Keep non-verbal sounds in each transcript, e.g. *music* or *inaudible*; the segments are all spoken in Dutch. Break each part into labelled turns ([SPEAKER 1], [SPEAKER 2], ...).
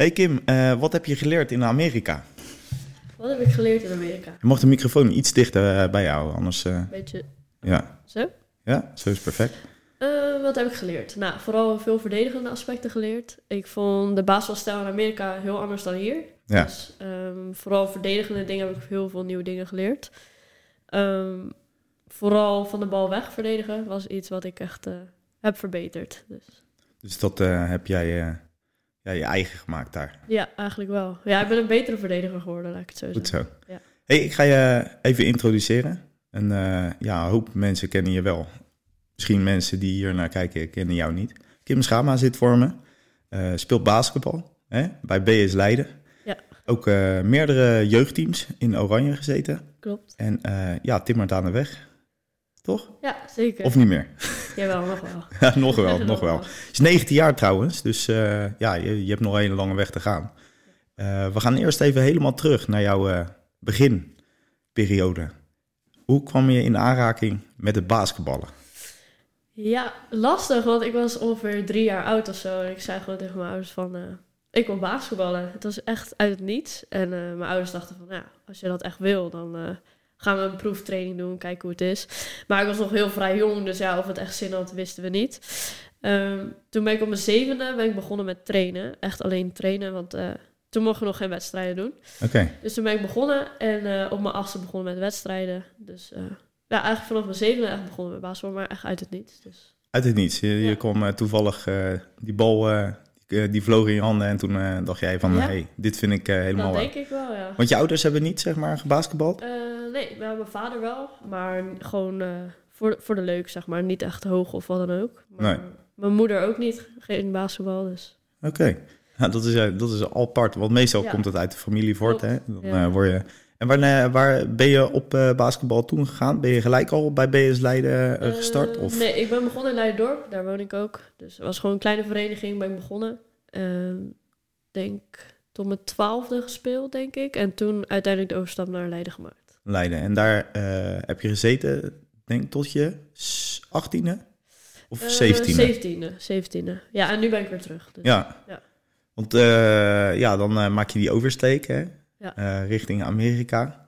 [SPEAKER 1] Hey Kim, eh, wat heb je geleerd in Amerika?
[SPEAKER 2] Wat heb ik geleerd in Amerika?
[SPEAKER 1] Je mag de microfoon iets dichter eh, bij jou, anders... eh,
[SPEAKER 2] Beetje
[SPEAKER 1] ja.
[SPEAKER 2] zo.
[SPEAKER 1] ja, zo is perfect.
[SPEAKER 2] Eh, wat heb ik geleerd? Nou, vooral veel verdedigende aspecten geleerd. Ik vond de basisstijl in Amerika heel anders dan hier.
[SPEAKER 1] Ja.
[SPEAKER 2] Dus ehm, vooral verdedigende dingen heb ik heel veel nieuwe dingen geleerd. Ehm, vooral van de bal weg verdedigen was iets wat ik echt eh, heb verbeterd. Dus
[SPEAKER 1] Dus dat eh, heb jij eh, ja, je eigen gemaakt daar.
[SPEAKER 2] ja, eigenlijk wel. Ja, ik ben een betere verdediger geworden, laat ik Dus het zo
[SPEAKER 1] Goed
[SPEAKER 2] zeggen.
[SPEAKER 1] zo.
[SPEAKER 2] Ja.
[SPEAKER 1] Hey, ik ga je even introduceren. En eh, ja, een hoop mensen kennen je wel. Misschien mensen die hier naar kijken kennen jou niet. Kim Schama zit voor me. eh, speelt basketbal hè, bij BS Leiden.
[SPEAKER 2] Ja.
[SPEAKER 1] Ook eh, meerdere jeugdteams in Oranje gezeten.
[SPEAKER 2] Klopt.
[SPEAKER 1] En eh ja, timmert aan de weg. Toch?
[SPEAKER 2] Ja, zeker.
[SPEAKER 1] Of niet meer?
[SPEAKER 2] Jawel, nog wel.
[SPEAKER 1] Ja, nog
[SPEAKER 2] *laughs*
[SPEAKER 1] wel, nog wel. Is 19 jaar trouwens, dus eh, ja, je, je hebt nog een hele lange weg te gaan. Eh, we gaan eerst even helemaal terug naar jouw eh, beginperiode. Hoe kwam je in aanraking met het basketballen?
[SPEAKER 2] Ja, lastig, want ik was ongeveer drie jaar oud of zo. En ik zei gewoon tegen mijn ouders van, eh, ik wil basketballen. Het was echt uit het niets. En eh, mijn ouders dachten van, ja, als je dat echt wil, dan eh, gaan we een proeftraining doen, kijken hoe het is. Maar ik was nog heel vrij jong, dus ja, of het echt zin had, wisten we niet. Ehm, toen ben ik op mijn zevende ben ik begonnen met trainen. Echt alleen trainen, want eh, toen mochten we nog geen wedstrijden doen.
[SPEAKER 1] Oké,
[SPEAKER 2] Dus toen ben ik begonnen en eh, op mijn achtste begonnen met wedstrijden. Dus eh, ja, eigenlijk vanaf mijn zevende echt begonnen met basketbal, maar echt uit het niets. Dus.
[SPEAKER 1] uit het niets. Je, je
[SPEAKER 2] Ja.
[SPEAKER 1] kwam eh, toevallig, eh, die bal eh, die, eh, die vloog in je handen en toen eh, dacht jij van,
[SPEAKER 2] Ja.
[SPEAKER 1] hey, dit vind ik eh, helemaal...
[SPEAKER 2] Dat
[SPEAKER 1] waar.
[SPEAKER 2] denk ik wel, ja.
[SPEAKER 1] Want je ouders hebben niet, zeg maar, gebasketbald?
[SPEAKER 2] Eh, nee, maar mijn vader wel, maar gewoon eh, voor, voor de leuk, zeg maar. Niet echt hoog of wat dan ook. Maar
[SPEAKER 1] Nee.
[SPEAKER 2] Mijn moeder ook niet, geen basketbal, dus
[SPEAKER 1] Oké. Ja, dat, is, eh, dat is al apart, want meestal
[SPEAKER 2] Ja.
[SPEAKER 1] komt het uit de familie voort. Hè?
[SPEAKER 2] Klopt,
[SPEAKER 1] Dan
[SPEAKER 2] ja.
[SPEAKER 1] eh, word je... En waar, waar ben je op eh, basketbal toen gegaan? Ben je gelijk al bij BS Leiden eh,
[SPEAKER 2] Eh,
[SPEAKER 1] gestart? Of?
[SPEAKER 2] Nee, ik ben begonnen in Leiderdorp. Daar woon ik ook. Dus het was gewoon een kleine vereniging. Ben ik begonnen. Ehm, denk tot mijn twaalfde gespeeld, denk ik. En toen uiteindelijk de overstap naar Leiden gemaakt.
[SPEAKER 1] Leiden. En daar eh, heb je gezeten, denk ik, tot je s- 18e of
[SPEAKER 2] Eh,
[SPEAKER 1] 17e?
[SPEAKER 2] Zeventiende. Zeventiende. Ja, en nu ben ik weer terug. Dus.
[SPEAKER 1] Ja.
[SPEAKER 2] Ja.
[SPEAKER 1] Want eh, ja, dan eh, maak je die oversteek hè?
[SPEAKER 2] Ja.
[SPEAKER 1] Eh, richting Amerika.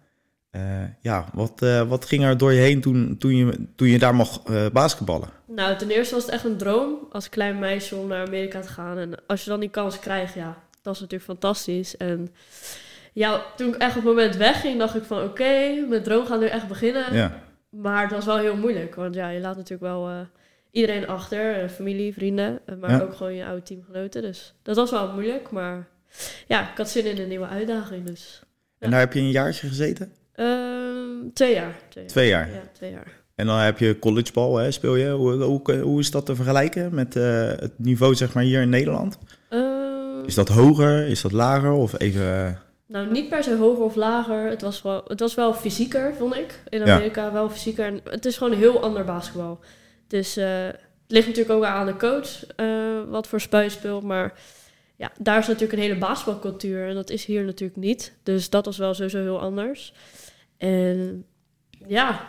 [SPEAKER 1] Eh, ja, wat, eh, wat ging er door je heen toen, toen, je, toen je daar mocht eh, basketballen?
[SPEAKER 2] Nou, ten eerste was het echt een droom als klein meisje om naar Amerika te gaan. En als je dan die kans krijgt, ja, dat is natuurlijk fantastisch. En ja, toen ik echt op het moment wegging, dacht ik van oké, mijn droom gaat nu echt beginnen.
[SPEAKER 1] Ja.
[SPEAKER 2] Maar het was wel heel moeilijk, want ja, je laat natuurlijk wel eh, iedereen achter. eh, familie, vrienden, eh, maar
[SPEAKER 1] Ja.
[SPEAKER 2] ook gewoon je oude teamgenoten. Dus dat was wel moeilijk, maar ja, ik had zin in een nieuwe uitdaging. Dus
[SPEAKER 1] En daar heb je een jaartje gezeten?
[SPEAKER 2] Ehm, twee jaar. Twee jaar.
[SPEAKER 1] Twee jaar.
[SPEAKER 2] Ja, twee jaar.
[SPEAKER 1] En dan heb je collegebal, hè, speel je. Hoe, hoe, hoe is dat te vergelijken met eh, het niveau zeg maar, hier in Nederland?
[SPEAKER 2] Ehm,
[SPEAKER 1] Is dat hoger, is dat lager of even... eh,
[SPEAKER 2] Nou, niet per se hoger of lager. Het was wel, het was wel fysieker, vond ik. In
[SPEAKER 1] Ja.
[SPEAKER 2] Amerika wel fysieker. En het is gewoon een heel ander basketbal. Dus eh, het ligt natuurlijk ook aan de coach eh, wat voor spel je speelt. Maar ja, daar is natuurlijk een hele basketbalcultuur. En dat is hier natuurlijk niet. Dus dat was wel sowieso heel anders. En ja,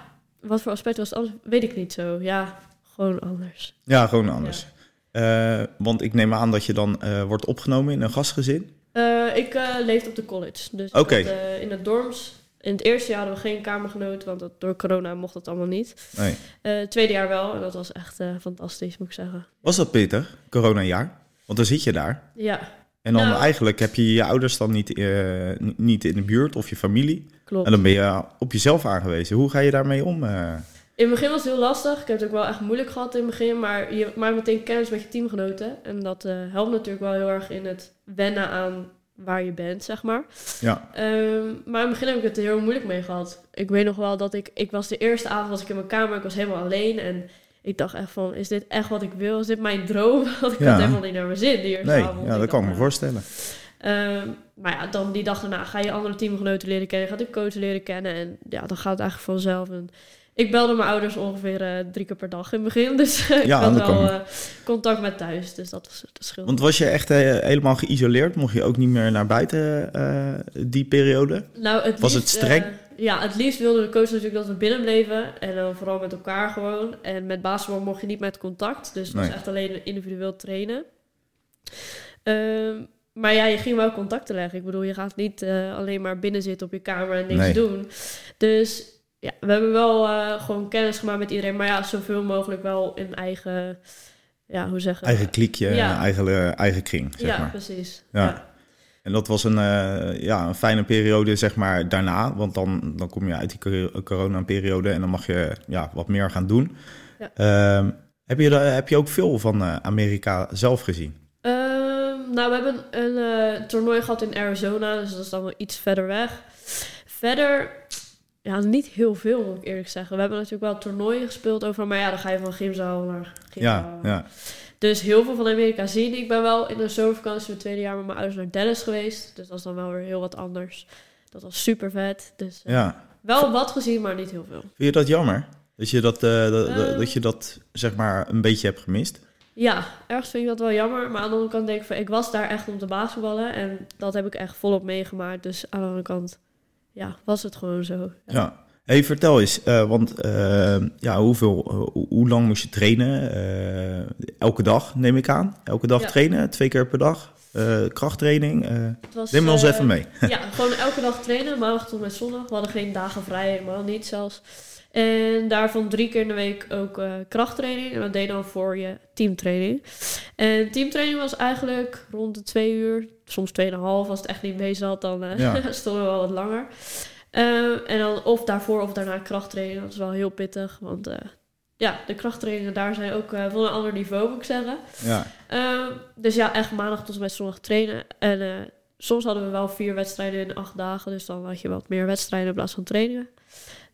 [SPEAKER 2] wat voor aspect was het anders? Weet ik niet zo. Ja, gewoon anders.
[SPEAKER 1] Ja, gewoon anders. Eh, want ik neem aan dat je dan eh, wordt opgenomen in een gastgezin.
[SPEAKER 2] Eh, ik eh, leefde op de college. Dus ik
[SPEAKER 1] Oké.
[SPEAKER 2] had, eh, in het dorms. In het eerste jaar hadden we geen kamergenoot, want dat, door corona mocht dat allemaal niet.
[SPEAKER 1] Nee.
[SPEAKER 2] Eh, het tweede jaar wel, en dat was echt eh, fantastisch, moet ik zeggen.
[SPEAKER 1] Was dat pittig, coronajaar? Want dan zit je daar.
[SPEAKER 2] Ja,
[SPEAKER 1] En dan
[SPEAKER 2] Nou.
[SPEAKER 1] eigenlijk heb je je ouders dan niet, eh, n- niet in de buurt of je familie.
[SPEAKER 2] klopt.
[SPEAKER 1] En dan ben je op jezelf aangewezen. Hoe ga je daarmee om? eh?
[SPEAKER 2] In het begin was het heel lastig. Ik heb het ook wel echt moeilijk gehad in het begin. Maar je maakt meteen kennis met je teamgenoten. En dat eh, helpt natuurlijk wel heel erg in het wennen aan waar je bent, zeg maar.
[SPEAKER 1] Ja.
[SPEAKER 2] Ehm, maar in het begin heb ik het er heel moeilijk mee gehad. Ik weet nog wel dat ik... Ik was de eerste avond was ik in mijn kamer. Ik was helemaal alleen. En ik dacht echt van, is dit echt wat ik wil? Is dit mijn droom? *laughs* Want ik
[SPEAKER 1] Ja.
[SPEAKER 2] had helemaal niet naar mijn zin die eerste
[SPEAKER 1] Nee,
[SPEAKER 2] avond.
[SPEAKER 1] ja, dat
[SPEAKER 2] Ik
[SPEAKER 1] kan ik me
[SPEAKER 2] dacht,
[SPEAKER 1] voorstellen.
[SPEAKER 2] Ehm, maar ja, dan die dag daarna ga je andere teamgenoten leren kennen, je gaat de coach leren kennen en ja, dan gaat het eigenlijk vanzelf. En ik belde mijn ouders ongeveer eh, drie keer per dag in het begin, *laughs* dus ik
[SPEAKER 1] Ja,
[SPEAKER 2] had
[SPEAKER 1] dat kan.
[SPEAKER 2] wel eh, contact met thuis, dus dat was het verschil.
[SPEAKER 1] Want was je echt eh, helemaal geïsoleerd? Mocht je ook niet meer naar buiten eh, die periode?
[SPEAKER 2] Nou, het
[SPEAKER 1] Was
[SPEAKER 2] liefst,
[SPEAKER 1] het streng?
[SPEAKER 2] eh, ja, het liefst wilde de coach natuurlijk dat we binnen bleven. En dan vooral met elkaar gewoon. En met basketbal mocht je niet met contact. Dus het
[SPEAKER 1] Nee.
[SPEAKER 2] was echt alleen individueel trainen. Ehm, maar ja, je ging wel contacten leggen. Ik bedoel, je gaat niet eh, alleen maar binnen zitten op je kamer en niks
[SPEAKER 1] Nee.
[SPEAKER 2] doen. Dus ja, we hebben wel eh, gewoon kennis gemaakt met iedereen. Maar ja, zoveel mogelijk wel in eigen, ja, hoe zeggen
[SPEAKER 1] Eigen kliekje,
[SPEAKER 2] Ja.
[SPEAKER 1] en eigen, eh, eigen kring, zeg
[SPEAKER 2] Ja,
[SPEAKER 1] maar.
[SPEAKER 2] precies.
[SPEAKER 1] Ja.
[SPEAKER 2] Ja.
[SPEAKER 1] En dat was een, eh, ja, een fijne periode, zeg maar, daarna. Want dan, dan kom je uit die cor- corona-periode en dan mag je ja, wat meer gaan doen.
[SPEAKER 2] Ja.
[SPEAKER 1] Ehm, heb, je, da- heb je ook veel van eh, Amerika zelf gezien?
[SPEAKER 2] Ehm, nou, we hebben een eh, toernooi gehad in Arizona, dus dat is dan wel iets verder weg. Verder, ja, niet heel veel moet ik eerlijk zeggen. We hebben natuurlijk wel toernooien gespeeld over, maar ja, dan ga je van gymzaal naar
[SPEAKER 1] Ja,
[SPEAKER 2] gymzaal.
[SPEAKER 1] ja.
[SPEAKER 2] Dus heel veel van Amerika zien. Ik ben wel in de zomervakantie van het tweede jaar met mijn ouders naar Dallas geweest, dus dat is dan wel weer heel wat anders. Dat was super vet. Dus eh,
[SPEAKER 1] ja.
[SPEAKER 2] wel wat gezien, maar niet heel veel.
[SPEAKER 1] Vind je dat jammer? Dat je dat, eh, dat, dat-
[SPEAKER 2] Ehm.
[SPEAKER 1] dat je dat, zeg maar, een beetje hebt gemist?
[SPEAKER 2] Ja, ergens vind ik dat wel jammer. Maar aan de andere kant denk ik van, ik was daar echt om te basketballen. En dat heb ik echt volop meegemaakt. Dus aan de andere kant, ja, was het gewoon zo.
[SPEAKER 1] Ja. Hey, vertel eens, eh, want eh, ja, hoeveel, eh, hoe- hoe lang moest je trainen? Eh, elke dag, neem ik aan. Elke dag
[SPEAKER 2] Ja.
[SPEAKER 1] trainen, twee keer per dag. Eh, krachttraining. eh
[SPEAKER 2] Het was,
[SPEAKER 1] neem me ons
[SPEAKER 2] eh,
[SPEAKER 1] even mee.
[SPEAKER 2] *laughs* Ja, gewoon elke dag trainen, maandag tot en met zondag. We hadden geen dagen vrij, helemaal niet zelfs. En daarvan drie keer in de week ook eh, krachttraining. En dat deed dan voor je teamtraining. En teamtraining was eigenlijk rond de twee uur, soms tweeënhalf. Als het echt niet mee zat, dan eh,
[SPEAKER 1] Ja.
[SPEAKER 2] *laughs* stonden we wel wat langer. Ehm, en dan of daarvoor of daarna krachttraining. Dat is wel heel pittig, want eh, ja, de krachttrainingen daar zijn ook eh, van een ander niveau, moet ik zeggen.
[SPEAKER 1] Ja.
[SPEAKER 2] Ehm, dus ja, echt maandag tot en met zondag trainen. En eh, soms hadden we wel vier wedstrijden in acht dagen. Dus dan had je wat meer wedstrijden in plaats van trainingen.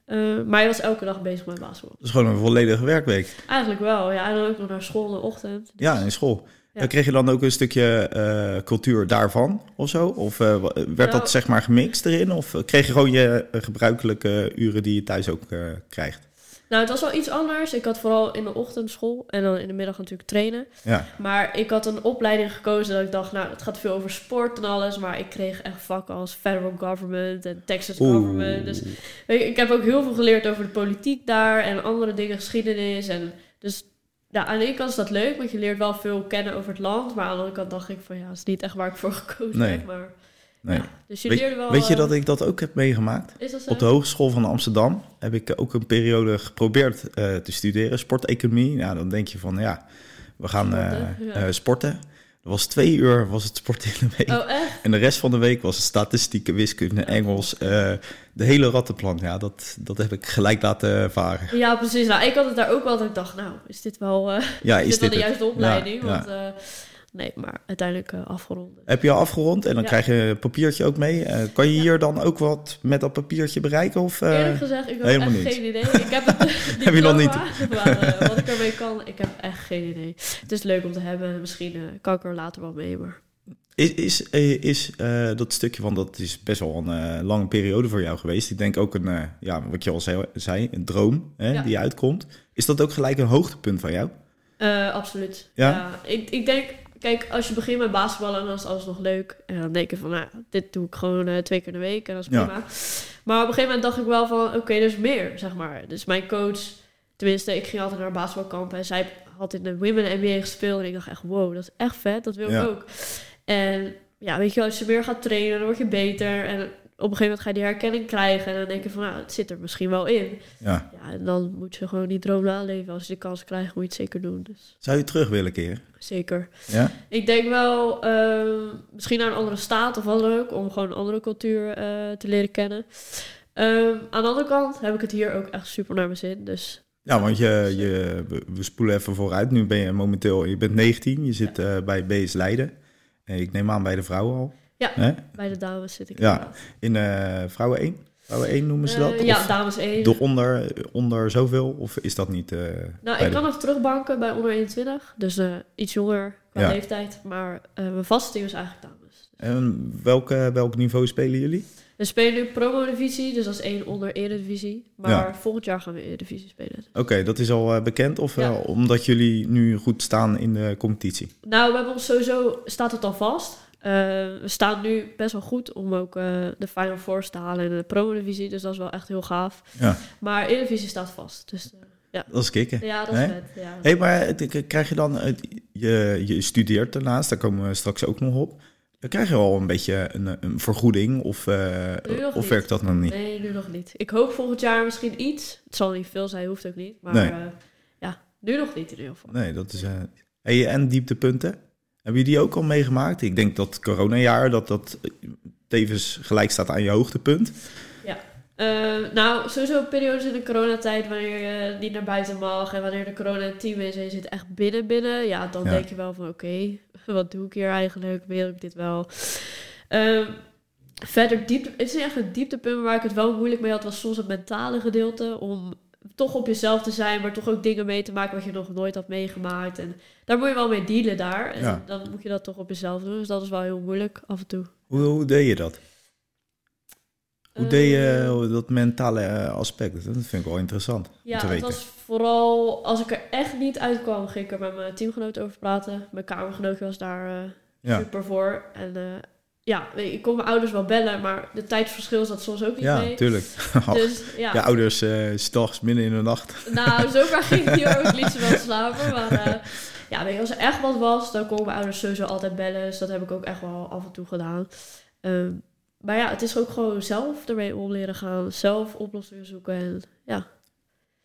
[SPEAKER 2] Ehm, maar je was elke dag bezig met basketbal.
[SPEAKER 1] Dat is gewoon een volledige werkweek.
[SPEAKER 2] Eigenlijk wel, ja. En dan ook nog naar school in de ochtend.
[SPEAKER 1] Ja, in school.
[SPEAKER 2] Ja.
[SPEAKER 1] Ja. Kreeg je dan ook een stukje eh, cultuur daarvan of zo? Of eh, wa- werd
[SPEAKER 2] Nou-
[SPEAKER 1] dat zeg maar gemixt erin? Of eh, kreeg je gewoon je eh, gebruikelijke uren die je thuis ook eh, krijgt?
[SPEAKER 2] Nou, het was wel iets anders. Ik had vooral in de ochtend school en dan in de middag natuurlijk trainen.
[SPEAKER 1] Ja,
[SPEAKER 2] Maar ik had een opleiding gekozen dat ik dacht, nou, het gaat veel over sport en alles. Maar ik kreeg echt vakken als federal government en Texas government. Dus Weet je, Ik heb ook heel veel geleerd over de politiek daar en andere dingen, geschiedenis. En dus ja, aan de ene kant is dat leuk, want je leert wel veel kennen over het land. Maar aan de andere kant dacht ik van ja, dat is niet echt waar ik voor gekozen
[SPEAKER 1] Nee.
[SPEAKER 2] heb. Maar,
[SPEAKER 1] nee.
[SPEAKER 2] dus je leerde
[SPEAKER 1] Weet,
[SPEAKER 2] wel.
[SPEAKER 1] weet je
[SPEAKER 2] eh,
[SPEAKER 1] dat ik dat ook heb meegemaakt?
[SPEAKER 2] Is dat zo?
[SPEAKER 1] Op de Hogeschool van Amsterdam heb ik eh, ook een periode geprobeerd eh, te studeren, sporteconomie. Nou, dan denk je van ja, we gaan eh,
[SPEAKER 2] Sporten, ja.
[SPEAKER 1] eh, sporten. Er was twee uur was het sport in de week.
[SPEAKER 2] Oh, echt?
[SPEAKER 1] En de rest van de week was het statistieken, wiskunde, Engels. eh, de hele rattenplan, ja, dat, dat heb ik gelijk laten varen.
[SPEAKER 2] Ja, precies. Nou, ik had het daar ook wel dat ik dacht, nou, is dit wel, eh,
[SPEAKER 1] Ja,
[SPEAKER 2] is dit wel de
[SPEAKER 1] het?
[SPEAKER 2] juiste
[SPEAKER 1] Ja,
[SPEAKER 2] opleiding?
[SPEAKER 1] ja.
[SPEAKER 2] Want, eh, nee, maar uiteindelijk eh, afgerond.
[SPEAKER 1] Heb je al afgerond en dan
[SPEAKER 2] Ja.
[SPEAKER 1] krijg je een papiertje ook mee. Eh, kan je hier dan ook wat met dat papiertje bereiken? Of, eh,
[SPEAKER 2] Eerlijk gezegd, ik heb
[SPEAKER 1] helemaal
[SPEAKER 2] echt
[SPEAKER 1] niet.
[SPEAKER 2] geen idee. Ik heb het
[SPEAKER 1] *laughs*
[SPEAKER 2] *laughs*
[SPEAKER 1] Heb je nog niet?
[SPEAKER 2] diploma, maar, eh, wat ik ermee kan, ik heb echt geen idee. Het is leuk om te hebben. Misschien eh, kan ik er later wel mee, maar...
[SPEAKER 1] Is, is, eh, is eh, dat stukje, want dat is best wel een eh, lange periode voor jou geweest. Ik denk ook een, eh, ja, wat je al zei, zei, een droom hè,
[SPEAKER 2] Ja.
[SPEAKER 1] die uitkomt. Is dat ook gelijk een hoogtepunt van jou?
[SPEAKER 2] Eh, absoluut.
[SPEAKER 1] Ja?
[SPEAKER 2] ik, ik denk, kijk, als je begint met basketballen, dan is alles nog leuk. En dan denk je van, nou, dit doe ik gewoon eh, twee keer in de week en dat is
[SPEAKER 1] Ja.
[SPEAKER 2] prima. Maar op een gegeven moment dacht ik wel van, oké, dus meer, zeg maar. Dus mijn coach, tenminste, ik ging altijd naar basketbalkampen en zij had in de Women NBA gespeeld. En ik dacht echt, wow, dat is echt vet, dat wil
[SPEAKER 1] Ja.
[SPEAKER 2] ik ook. En ja, weet je wel, als je meer gaat trainen, dan word je beter. En op een gegeven moment ga je die herkenning krijgen. En dan denk je van, nou, het zit er misschien wel in.
[SPEAKER 1] Ja.
[SPEAKER 2] Ja, en dan moet je gewoon die droom naleven. Als je de kans krijgt, moet je het zeker doen. Dus.
[SPEAKER 1] Zou je terug willen keren?
[SPEAKER 2] Zeker.
[SPEAKER 1] Ja?
[SPEAKER 2] Ik denk wel ehm, misschien naar een andere staat of wat dan ook, om gewoon een andere cultuur eh, te leren kennen. Ehm, aan de andere kant heb ik het hier ook echt super naar mijn zin. Dus
[SPEAKER 1] Ja, want je, je, we- we spoelen even vooruit. Nu ben je momenteel, je bent 19, je zit eh, bij BS Leiden. Eh, Ik neem aan bij de vrouwen al.
[SPEAKER 2] Ja.
[SPEAKER 1] Hè?
[SPEAKER 2] bij de dames zit ik.
[SPEAKER 1] Ja,
[SPEAKER 2] inderdaad.
[SPEAKER 1] In eh, vrouwen 1? Vrouwen 1 noemen ze dat?
[SPEAKER 2] Eh, ja,
[SPEAKER 1] Of
[SPEAKER 2] dames één.
[SPEAKER 1] de onder, onder zoveel? Of is dat niet... eh,
[SPEAKER 2] Nou,
[SPEAKER 1] bij
[SPEAKER 2] ik
[SPEAKER 1] de-
[SPEAKER 2] kan nog terugbanken bij onder 21, dus eh, iets jonger qua
[SPEAKER 1] Ja.
[SPEAKER 2] leeftijd. Maar eh, mijn vaste team is eigenlijk dames.
[SPEAKER 1] En welke, welk niveau spelen jullie?
[SPEAKER 2] We spelen nu promo-divisie, dus dat is één onder eredivisie. Maar
[SPEAKER 1] Ja.
[SPEAKER 2] volgend jaar gaan we eredivisie spelen.
[SPEAKER 1] Oké, dat is al eh, bekend. Of
[SPEAKER 2] Ja.
[SPEAKER 1] eh, omdat jullie nu goed staan in de competitie?
[SPEAKER 2] Nou, we hebben ons sowieso, staat het al vast. Eh, we staan nu best wel goed om ook eh, de Final Four te halen in de Pro-divisie. Dus dat is wel echt heel gaaf.
[SPEAKER 1] Ja.
[SPEAKER 2] Maar Eredivisie staat vast. Dus eh,
[SPEAKER 1] Dat is kicken. eh,
[SPEAKER 2] ja, dat is
[SPEAKER 1] Hè?
[SPEAKER 2] vet. Ja.
[SPEAKER 1] Hé, hey, maar het- k- krijg je dan... het- je, je studeert daarnaast, daar komen we straks ook nog op. Dan krijg je al een beetje een, eh, een vergoeding of, eh,
[SPEAKER 2] Nu nog
[SPEAKER 1] of
[SPEAKER 2] niet.
[SPEAKER 1] werkt dat nog niet?
[SPEAKER 2] Nee, nu nog niet. Ik hoop volgend jaar misschien iets. Het zal niet veel zijn, hoeft ook niet. Maar
[SPEAKER 1] Nee.
[SPEAKER 2] eh, ja, nu nog niet in ieder geval.
[SPEAKER 1] Nee, dat is... eh, hey, en dieptepunten? Hebben jullie die ook al meegemaakt? Ik denk dat coronajaar, dat dat eh, tevens gelijk staat aan je hoogtepunt.
[SPEAKER 2] Eh, nou, sowieso periodes in de coronatijd wanneer je niet naar buiten mag en wanneer de corona een team is en je zit echt binnen binnen, ja, dan
[SPEAKER 1] Ja.
[SPEAKER 2] denk je wel van oké, *laughs* wat doe ik hier eigenlijk? Wil ik dit wel? Ehm, verder, diepte, het is niet echt een dieptepunt waar ik het wel moeilijk mee had, was soms het mentale gedeelte om toch op jezelf te zijn, maar toch ook dingen mee te maken wat je nog nooit had meegemaakt. En daar moet je wel mee dealen daar. En
[SPEAKER 1] Ja.
[SPEAKER 2] dan moet je dat toch op jezelf doen. Dus dat is wel heel moeilijk af en toe.
[SPEAKER 1] Hoe, hoe deed je dat? Hoe
[SPEAKER 2] Eh,
[SPEAKER 1] deed je dat mentale eh, aspect? Dat vind ik wel interessant om
[SPEAKER 2] Ja,
[SPEAKER 1] te
[SPEAKER 2] het
[SPEAKER 1] weten.
[SPEAKER 2] was vooral als ik er echt niet uitkwam, ging ik er met mijn teamgenoot over praten. Mijn kamergenootje was daar eh,
[SPEAKER 1] Ja.
[SPEAKER 2] super voor. En eh, ja, weet je, ik kon mijn ouders wel bellen, maar de tijdsverschil zat soms ook niet
[SPEAKER 1] Ja,
[SPEAKER 2] mee.
[SPEAKER 1] tuurlijk. *laughs*
[SPEAKER 2] Dus ja,
[SPEAKER 1] Je ouders eh, s s'nachts midden in de nacht.
[SPEAKER 2] *laughs* nou, zover ging het niet
[SPEAKER 1] *laughs*
[SPEAKER 2] hoor. Ik liet ze wel slapen. Maar eh, ja, weet je, als er echt wat was, dan kon mijn ouders sowieso altijd bellen. Dus dat heb ik ook echt wel af en toe gedaan. Ehm, maar ja, het is ook gewoon zelf ermee om leren gaan. Zelf oplossingen zoeken en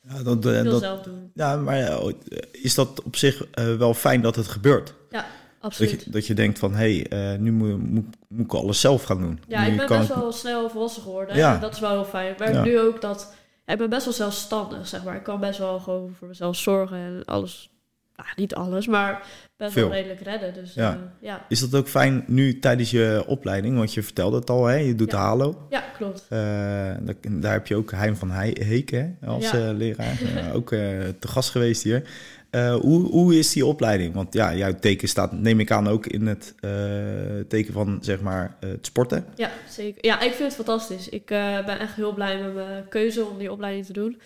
[SPEAKER 1] Ja, dat, eh,
[SPEAKER 2] veel
[SPEAKER 1] dat,
[SPEAKER 2] zelf doen.
[SPEAKER 1] ja, maar eh, is dat op zich eh, wel fijn dat het gebeurt? Dat
[SPEAKER 2] Absoluut.
[SPEAKER 1] je, dat je denkt van, hé, hey, eh, nu moet, moet, moet ik alles zelf gaan doen.
[SPEAKER 2] Ja,
[SPEAKER 1] nu
[SPEAKER 2] ik ben
[SPEAKER 1] kan
[SPEAKER 2] best wel snel volwassen geworden.
[SPEAKER 1] Ja.
[SPEAKER 2] En dat is wel heel fijn. Ik merk
[SPEAKER 1] Ja.
[SPEAKER 2] nu ook dat... ja, Ik ben best wel zelfstandig, zeg maar. Ik kan best wel gewoon voor mezelf zorgen en alles... Nou, niet alles, maar best
[SPEAKER 1] Veel.
[SPEAKER 2] wel redelijk redden. Dus
[SPEAKER 1] Ja.
[SPEAKER 2] ja, ja.
[SPEAKER 1] Is dat ook fijn nu tijdens je opleiding? Want je vertelde het al, hè? je doet
[SPEAKER 2] Ja.
[SPEAKER 1] de halo.
[SPEAKER 2] ja klopt.
[SPEAKER 1] Eh, daar, daar heb je ook Hein van Heij- Heken hè, als
[SPEAKER 2] Ja.
[SPEAKER 1] eh, leraar. *laughs* Eh, ook eh, te gast geweest hier. Eh, hoe, hoe is die opleiding? Want ja, jouw teken staat, neem ik aan, ook in het eh, teken van zeg maar eh, het sporten.
[SPEAKER 2] Ja, zeker. Ja, ik vind het fantastisch. Ik eh, ben echt heel blij met mijn keuze om die opleiding te doen.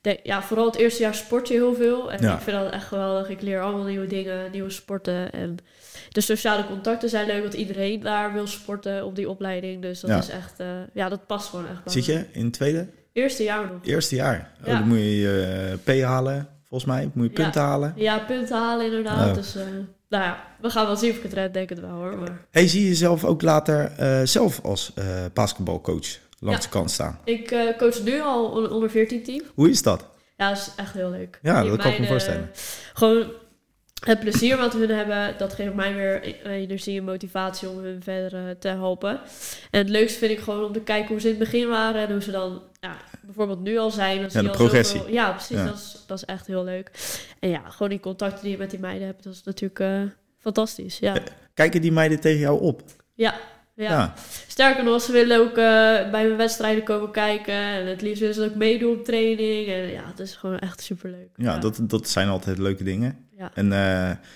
[SPEAKER 2] De- ja, vooral het eerste jaar sport je heel veel. En
[SPEAKER 1] Ja.
[SPEAKER 2] ik vind dat echt geweldig. Ik leer allemaal nieuwe dingen, nieuwe sporten. En de sociale contacten zijn leuk, want iedereen daar wil sporten op die opleiding. Dus dat
[SPEAKER 1] Ja.
[SPEAKER 2] is echt, eh, ja, dat past gewoon echt bij
[SPEAKER 1] Zit
[SPEAKER 2] me.
[SPEAKER 1] je in het tweede?
[SPEAKER 2] Eerste jaar nog.
[SPEAKER 1] Eerste jaar. Oh,
[SPEAKER 2] Ja.
[SPEAKER 1] dan moet je je eh, P halen, volgens mij. Moet je
[SPEAKER 2] Ja.
[SPEAKER 1] punten halen.
[SPEAKER 2] Ja, punten halen inderdaad.
[SPEAKER 1] Oh.
[SPEAKER 2] Dus eh, nou ja, we gaan wel zien of ik het red, denk het wel hoor. Maar
[SPEAKER 1] Hey, zie je jezelf ook later eh, zelf als eh, basketbalcoach langs de kant staan?
[SPEAKER 2] ik eh, coach nu al een onder 14 team.
[SPEAKER 1] Hoe is dat?
[SPEAKER 2] Ja, dat is echt heel leuk.
[SPEAKER 1] Ja,
[SPEAKER 2] Die
[SPEAKER 1] dat kan ik me
[SPEAKER 2] meiden,
[SPEAKER 1] voorstellen.
[SPEAKER 2] Gewoon het plezier wat hun hebben, dat geeft mij weer energie en motivatie om hun verder eh, te helpen. En het leukste vind ik gewoon om te kijken hoe ze in het begin waren en hoe ze dan ja, bijvoorbeeld nu al zijn. Dan zie
[SPEAKER 1] de
[SPEAKER 2] je al
[SPEAKER 1] progressie.
[SPEAKER 2] zoveel- ja, precies.
[SPEAKER 1] Ja.
[SPEAKER 2] Dat, is, dat is echt heel leuk. En ja, gewoon die contacten die je met die meiden hebt, dat is natuurlijk eh, fantastisch.
[SPEAKER 1] Eh,
[SPEAKER 2] Ja.
[SPEAKER 1] Kijken die meiden tegen jou op?
[SPEAKER 2] ja. Sterker nog, ze willen ook eh, bij mijn wedstrijden komen kijken. En het liefst willen ze ook meedoen op training. En ja, het is gewoon echt superleuk.
[SPEAKER 1] Ja, Dat, dat zijn altijd leuke dingen.
[SPEAKER 2] Ja.
[SPEAKER 1] En eh,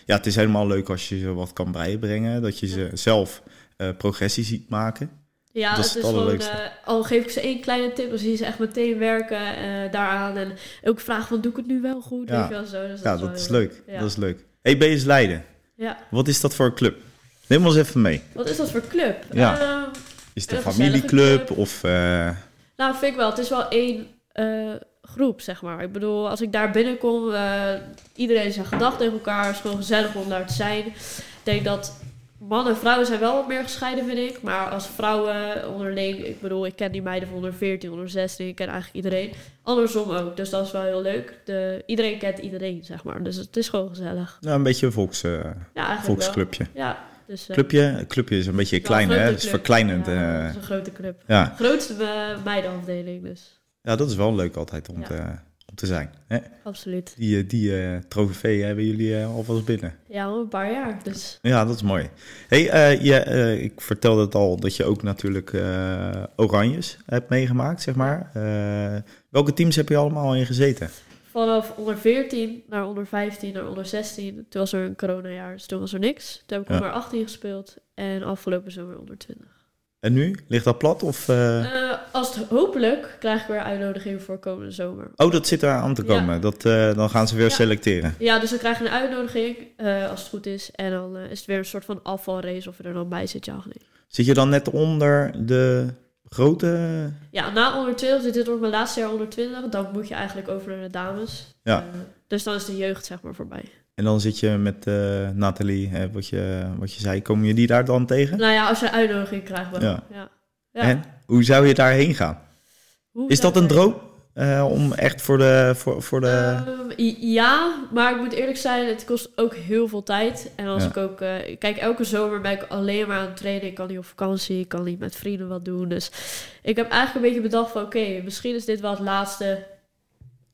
[SPEAKER 1] ja, het is helemaal leuk als je ze wat kan bijbrengen. Dat je ze zelf eh, progressie ziet maken.
[SPEAKER 2] Ja,
[SPEAKER 1] Dat is
[SPEAKER 2] het
[SPEAKER 1] het
[SPEAKER 2] is gewoon,
[SPEAKER 1] allerleukste.
[SPEAKER 2] eh, al geef ik ze één kleine tip, dan zie je ze echt meteen werken eh, daaraan. En ook vragen van, doe ik het nu wel goed?
[SPEAKER 1] Ja.
[SPEAKER 2] Weet je wel, zo. Dus
[SPEAKER 1] Ja,
[SPEAKER 2] wel
[SPEAKER 1] dat is
[SPEAKER 2] heel
[SPEAKER 1] leuk.
[SPEAKER 2] Ja.
[SPEAKER 1] Dat is leuk. Hey, BS Leiden.
[SPEAKER 2] Ja.
[SPEAKER 1] Wat is dat voor een club? Neem ons even mee.
[SPEAKER 2] Wat is dat voor club?
[SPEAKER 1] Ja.
[SPEAKER 2] Ehm,
[SPEAKER 1] Is het een
[SPEAKER 2] Een gezellige
[SPEAKER 1] familieclub
[SPEAKER 2] club.
[SPEAKER 1] of... eh,
[SPEAKER 2] nou, vind ik wel. Het is wel één eh, groep, zeg maar. Ik bedoel, als ik daar binnenkom, eh, iedereen zijn gedachten tegen elkaar. Het is gewoon gezellig om daar te zijn. Ik denk dat mannen en vrouwen zijn wel wat meer gescheiden, vind ik. Maar als vrouwen onderling, ik bedoel, ik ken die meiden van onder 14, onder 16, ik ken eigenlijk iedereen. Andersom ook, dus dat is wel heel leuk. De, iedereen kent iedereen, zeg maar. Dus het is gewoon gezellig.
[SPEAKER 1] nou, een beetje een volks, eh,
[SPEAKER 2] Ja, eigenlijk wel.
[SPEAKER 1] volksclubje.
[SPEAKER 2] Ja, dus... eh,
[SPEAKER 1] Clubje, clubje is een beetje
[SPEAKER 2] wel een
[SPEAKER 1] klein, hè?
[SPEAKER 2] grote
[SPEAKER 1] Dat is
[SPEAKER 2] club.
[SPEAKER 1] verkleinend. eh,
[SPEAKER 2] Ja,
[SPEAKER 1] Ja,
[SPEAKER 2] dat is een grote club.
[SPEAKER 1] ja.
[SPEAKER 2] Grootste eh, meidenafdeling, dus
[SPEAKER 1] dat is wel leuk altijd om,
[SPEAKER 2] Ja.
[SPEAKER 1] te, om te zijn. Hè?
[SPEAKER 2] absoluut.
[SPEAKER 1] Die, eh, die eh, trofee hebben jullie eh, alvast binnen.
[SPEAKER 2] Ja, al een paar jaar, dus...
[SPEAKER 1] Ja, dat is mooi. Hey, eh, je, eh, ik vertelde het al dat je ook natuurlijk eh, Oranjes hebt meegemaakt, zeg maar. Eh, welke teams heb je allemaal in gezeten?
[SPEAKER 2] Vanaf onder 14 naar onder 15 naar onder 16. Toen was er een coronajaar, dus toen was er niks. Toen heb ik
[SPEAKER 1] Ja.
[SPEAKER 2] onder 18 gespeeld en afgelopen zomer onder 20.
[SPEAKER 1] En nu? Ligt dat plat? Of, eh,
[SPEAKER 2] Eh, als het hopelijk krijg ik weer uitnodiging voor komende zomer.
[SPEAKER 1] Oh, dat zit eraan te komen. Dat, eh, dan gaan ze weer
[SPEAKER 2] Ja.
[SPEAKER 1] selecteren.
[SPEAKER 2] Ja, dus dan krijg je een uitnodiging eh, als het goed is. En dan eh, is het weer een soort van afvalrace of je er dan bij zit, ja of nee.
[SPEAKER 1] Zit je dan net onder de grote...
[SPEAKER 2] Ja, na onder 20, dus dit wordt mijn laatste jaar onder 20. Dan moet je eigenlijk over naar de dames.
[SPEAKER 1] Ja.
[SPEAKER 2] Eh, dus dan is de jeugd zeg maar voorbij.
[SPEAKER 1] En dan zit je met eh Nathalie, hè, wat, je, wat je zei, kom je die daar dan tegen?
[SPEAKER 2] Nou ja, als je een uitnodiging krijgt wel.
[SPEAKER 1] Ja.
[SPEAKER 2] Ja. Ja.
[SPEAKER 1] En hoe zou je daarheen gaan?
[SPEAKER 2] Hoe
[SPEAKER 1] Is
[SPEAKER 2] zou
[SPEAKER 1] dat een
[SPEAKER 2] ik-
[SPEAKER 1] droom? Eh, om echt voor de... Voor, voor de...
[SPEAKER 2] Ehm, i- ja, maar ik moet eerlijk zijn, het kost ook heel veel tijd. En als
[SPEAKER 1] Ja.
[SPEAKER 2] ik ook... eh, kijk, elke zomer ben ik alleen maar aan het trainen. Ik kan niet op vakantie, ik kan niet met vrienden wat doen. Dus ik heb eigenlijk een beetje bedacht van... Oké, misschien is dit wel het laatste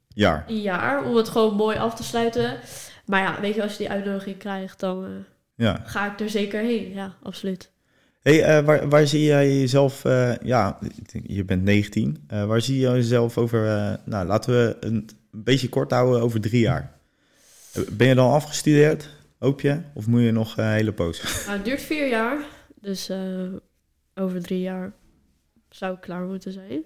[SPEAKER 1] Ja,
[SPEAKER 2] jaar om het gewoon mooi af te sluiten. Maar ja, weet je, als je die uitnodiging krijgt, dan eh,
[SPEAKER 1] ja.
[SPEAKER 2] ga ik er zeker heen. Ja, absoluut.
[SPEAKER 1] Hey, eh, waar, waar zie jij jezelf, eh, ja, ik denk, je bent 19. Eh, waar zie je jezelf over, eh, nou laten we een, een beetje kort houden, over drie jaar? Eh, Ben je dan afgestudeerd, hoop je? Of moet je nog eh, een hele poos?
[SPEAKER 2] Nou, het duurt vier jaar, dus eh, over drie jaar zou ik klaar moeten zijn.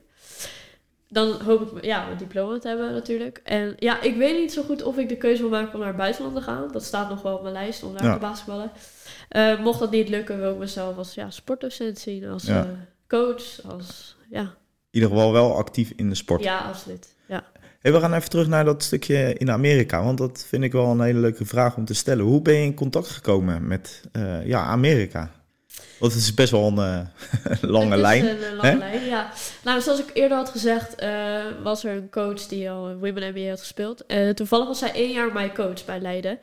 [SPEAKER 2] Dan hoop ik m- ja, mijn diploma te hebben natuurlijk. En ja, ik weet niet zo goed of ik de keuze wil maken om naar het buitenland te gaan. Dat staat nog wel op mijn lijst, om daar
[SPEAKER 1] Ja.
[SPEAKER 2] te basketballen. Eh, mocht dat niet lukken, wil ik mezelf als ja, sportdocent zien, als
[SPEAKER 1] Ja.
[SPEAKER 2] eh, coach, als... Ja,
[SPEAKER 1] In ieder geval wel actief in de sport.
[SPEAKER 2] ja absoluut. Ja.
[SPEAKER 1] Hey, we gaan even terug naar dat stukje in Amerika, want dat vind ik wel een hele leuke vraag om te stellen. Hoe ben je in contact gekomen met eh, ja, Amerika? Want het is best wel een eh, *laughs* lange
[SPEAKER 2] Het is
[SPEAKER 1] lijn.
[SPEAKER 2] Een eh, lange
[SPEAKER 1] hè?
[SPEAKER 2] lijn, ja. Nou, zoals ik eerder had gezegd, eh, was er een coach die al in Women NBA had gespeeld. Eh, toevallig was zij één jaar mijn coach bij Leiden.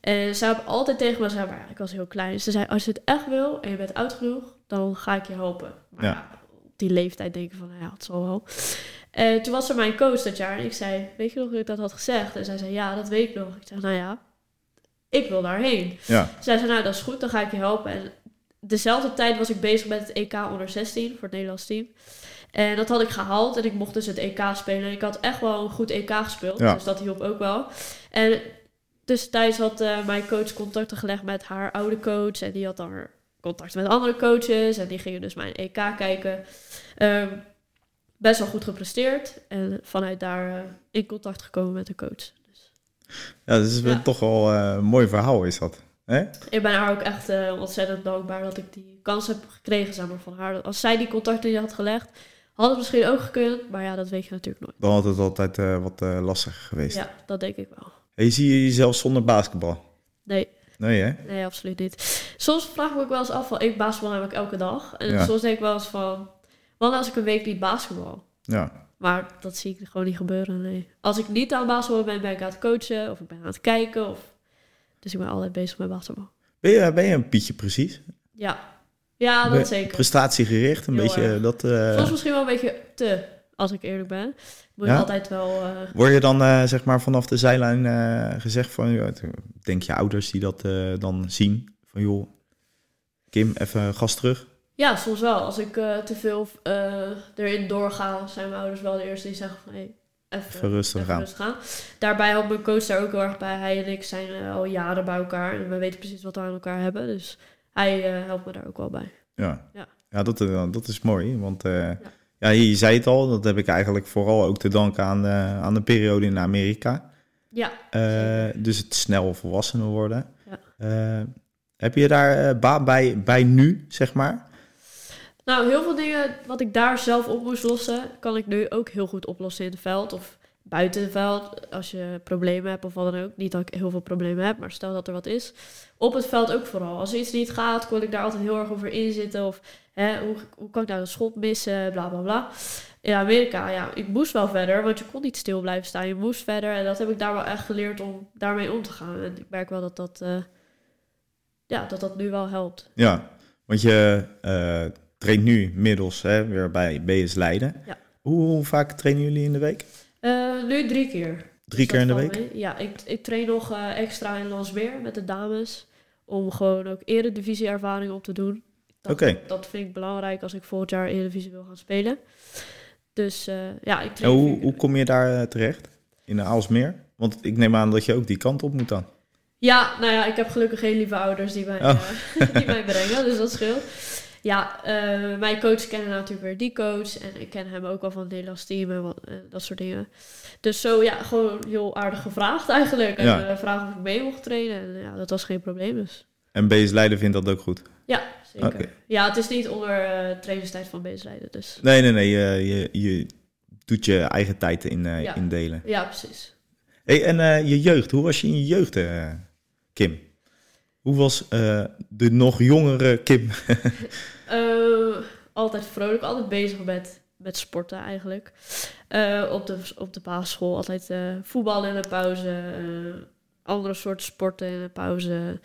[SPEAKER 2] En zij had altijd tegen me gezegd, maar ja, ik was heel klein. Ze zei, als je het echt wil en je bent oud genoeg, dan ga ik je helpen. Maar
[SPEAKER 1] Ja.
[SPEAKER 2] ja, op die leeftijd denk ik van, nou ja, het zal wel. Eh, toen was er mijn coach dat jaar en ik zei, weet je nog dat ik dat had gezegd? En zij zei, ja, dat weet ik nog. Ik zei, nou ja, ik wil daarheen.
[SPEAKER 1] Ja,
[SPEAKER 2] Zij zei, nou dat is goed, dan ga ik je helpen. En dezelfde tijd was ik bezig met het EK onder 16 voor het Nederlands team. En dat had ik gehaald en ik mocht dus het EK spelen. En ik had echt wel een goed EK gespeeld,
[SPEAKER 1] Ja.
[SPEAKER 2] dus dat hielp ook wel. En tussentijds had eh, mijn coach contacten gelegd met haar oude coach. En die had dan weer contact met andere coaches. En die gingen dus mijn EK kijken. Ehm, best wel goed gepresteerd. En vanuit daar eh, in contact gekomen met de coach.
[SPEAKER 1] ja dat is
[SPEAKER 2] Ja.
[SPEAKER 1] toch wel eh, een mooi verhaal is dat. hè?
[SPEAKER 2] Ik ben haar ook echt eh, ontzettend dankbaar dat ik die kans heb gekregen zeg maar, van haar. Als zij die contacten niet had gelegd, had het misschien ook gekund. Maar ja, dat weet je natuurlijk nooit.
[SPEAKER 1] Dan had het altijd eh, wat eh, lastiger geweest.
[SPEAKER 2] Ja, dat denk ik wel.
[SPEAKER 1] Hey, zie je jezelf zonder basketbal?
[SPEAKER 2] Nee,
[SPEAKER 1] Nee, hè?
[SPEAKER 2] nee, absoluut niet. Soms vraag ik me ook wel eens af van, ik basketbal namelijk elke dag. En
[SPEAKER 1] Ja.
[SPEAKER 2] soms denk ik wel eens van, wat nou als ik een week niet basketbal?
[SPEAKER 1] Ja.
[SPEAKER 2] Maar dat zie ik gewoon niet gebeuren, nee. Als ik niet aan basketbal ben, ben ik aan het coachen of ik ben aan het kijken. Of... Dus ik ben altijd bezig met basketbal.
[SPEAKER 1] Ben je, ben je een pietje precies?
[SPEAKER 2] Ja, ja
[SPEAKER 1] Ben je
[SPEAKER 2] dat zeker.
[SPEAKER 1] Prestatiegericht, een
[SPEAKER 2] Heel
[SPEAKER 1] beetje
[SPEAKER 2] erg.
[SPEAKER 1] eh, dat...
[SPEAKER 2] Soms
[SPEAKER 1] eh
[SPEAKER 2] misschien wel een beetje te, als ik eerlijk ben. Moet
[SPEAKER 1] Ja?
[SPEAKER 2] je altijd wel... eh,
[SPEAKER 1] word je dan eh, zeg maar vanaf de zijlijn eh, gezegd van... joh, Denk je ouders die dat eh, dan zien? Van joh, Kim, even gas terug.
[SPEAKER 2] ja, soms wel. Als ik eh, te veel eh, erin doorga, zijn mijn ouders wel de eerste die zeggen van... Hey, even,
[SPEAKER 1] Even rustig
[SPEAKER 2] even
[SPEAKER 1] aan.
[SPEAKER 2] gaan. Daarbij helpt mijn coach daar ook heel erg bij. Hij en ik zijn eh, al jaren bij elkaar. En we weten precies wat we aan elkaar hebben. Dus hij eh, helpt me daar ook wel bij.
[SPEAKER 1] Ja, ja.
[SPEAKER 2] Ja.
[SPEAKER 1] dat, eh, dat is mooi. Want eh, ja. je, je zei het al, dat heb ik eigenlijk vooral ook te danken aan, eh, aan de periode in Amerika.
[SPEAKER 2] Ja,
[SPEAKER 1] Eh, dus het snel volwassener worden.
[SPEAKER 2] Ja.
[SPEAKER 1] Eh, heb je daar eh, baat bij, bij nu, zeg maar?
[SPEAKER 2] Nou, heel veel dingen wat ik daar zelf op moest lossen, kan ik nu ook heel goed oplossen in het veld of buiten het veld. Als je problemen hebt of wat dan ook. Niet dat ik heel veel problemen heb, maar stel dat er wat is. Op het veld ook vooral. Als er iets niet gaat, kon ik daar altijd heel erg over inzitten. Of hè, hoe, hoe kan ik nou een schot missen, bla bla bla. In Amerika, ja, ik moest wel verder, want je kon niet stil blijven staan. Je moest verder en dat heb ik daar wel echt geleerd om daarmee om te gaan. En ik merk wel dat dat, eh, ja, dat, dat nu wel helpt.
[SPEAKER 1] Ja, want je eh, traint nu middels hè, weer bij BS Leiden.
[SPEAKER 2] Ja.
[SPEAKER 1] Hoe, hoe vaak trainen jullie in de week?
[SPEAKER 2] Eh, nu drie keer.
[SPEAKER 1] Drie
[SPEAKER 2] Dus
[SPEAKER 1] keer in de
[SPEAKER 2] dat
[SPEAKER 1] week?
[SPEAKER 2] valt mee. Ja, ik, ik train nog eh, extra in Lansmeer met de dames. Om gewoon ook eredivisie ervaring op te doen. Dat,
[SPEAKER 1] Oké.
[SPEAKER 2] dat vind ik belangrijk als ik volgend jaar eredivisie wil gaan spelen. Dus eh, ja, ik
[SPEAKER 1] En
[SPEAKER 2] train... vier
[SPEAKER 1] hoe,
[SPEAKER 2] keer.
[SPEAKER 1] hoe kom je daar eh, terecht? In de Aalsmeer? Want ik neem aan dat je ook die kant op moet dan.
[SPEAKER 2] Ja, nou ja, ik heb gelukkig geen lieve ouders die mij,
[SPEAKER 1] Oh.
[SPEAKER 2] eh, *laughs* die mij brengen, dus dat scheelt. Ja, eh, mijn coach kennen natuurlijk weer die coach. En ik ken hem ook wel van het Nederlands team en wat, eh, dat soort dingen. Dus zo, ja, gewoon heel aardig gevraagd eigenlijk. En
[SPEAKER 1] Ja.
[SPEAKER 2] eh, vragen of ik mee mocht trainen. En ja, dat was geen probleem dus.
[SPEAKER 1] En BS Leiden vindt dat ook goed.
[SPEAKER 2] Ja, zeker.
[SPEAKER 1] Oké.
[SPEAKER 2] Ja, het is niet onder eh trainingstijd van Beesleiden, dus...
[SPEAKER 1] Nee, nee, nee. Je, je, je doet je eigen tijd in, eh,
[SPEAKER 2] Ja.
[SPEAKER 1] indelen.
[SPEAKER 2] Ja, precies.
[SPEAKER 1] Hey, en eh, je jeugd, hoe was je in je jeugd? eh? Kim. Hoe was eh, de nog jongere Kim?
[SPEAKER 2] Eh, altijd vrolijk, altijd bezig met, met sporten eigenlijk. Eh, op, de, op de basisschool altijd eh voetbal in de pauze, eh, andere soorten sporten in de pauze.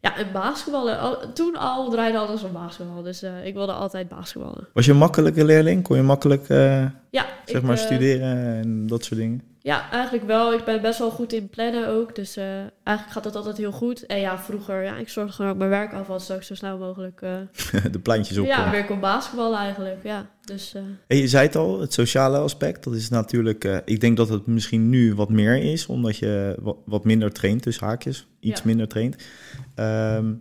[SPEAKER 2] Ja, en basketballen. Al- toen al draaide alles om basketbal, dus eh, ik wilde altijd basketballen.
[SPEAKER 1] Was je een makkelijke leerling? Kon je makkelijk eh,
[SPEAKER 2] Ja,
[SPEAKER 1] zeg
[SPEAKER 2] ik,
[SPEAKER 1] maar
[SPEAKER 2] eh,
[SPEAKER 1] studeren en dat soort dingen? *laughs*
[SPEAKER 2] Ja, eigenlijk wel. Ik ben best wel goed in plannen ook, dus eh, eigenlijk gaat dat altijd heel goed. En ja, vroeger, ja, ik zorgde gewoon dat ik mijn werk af had, zodat ik zo snel mogelijk eh,
[SPEAKER 1] de pleintjes op. eh.
[SPEAKER 2] ja, weer kon basketballen eigenlijk. Ja, dus... eh,
[SPEAKER 1] En je zei het al, het sociale aspect, dat is natuurlijk... eh, ik denk dat het misschien nu wat meer is, omdat je wa- wat, minder traint, dus haakjes, iets
[SPEAKER 2] Ja.
[SPEAKER 1] minder traint. Ehm,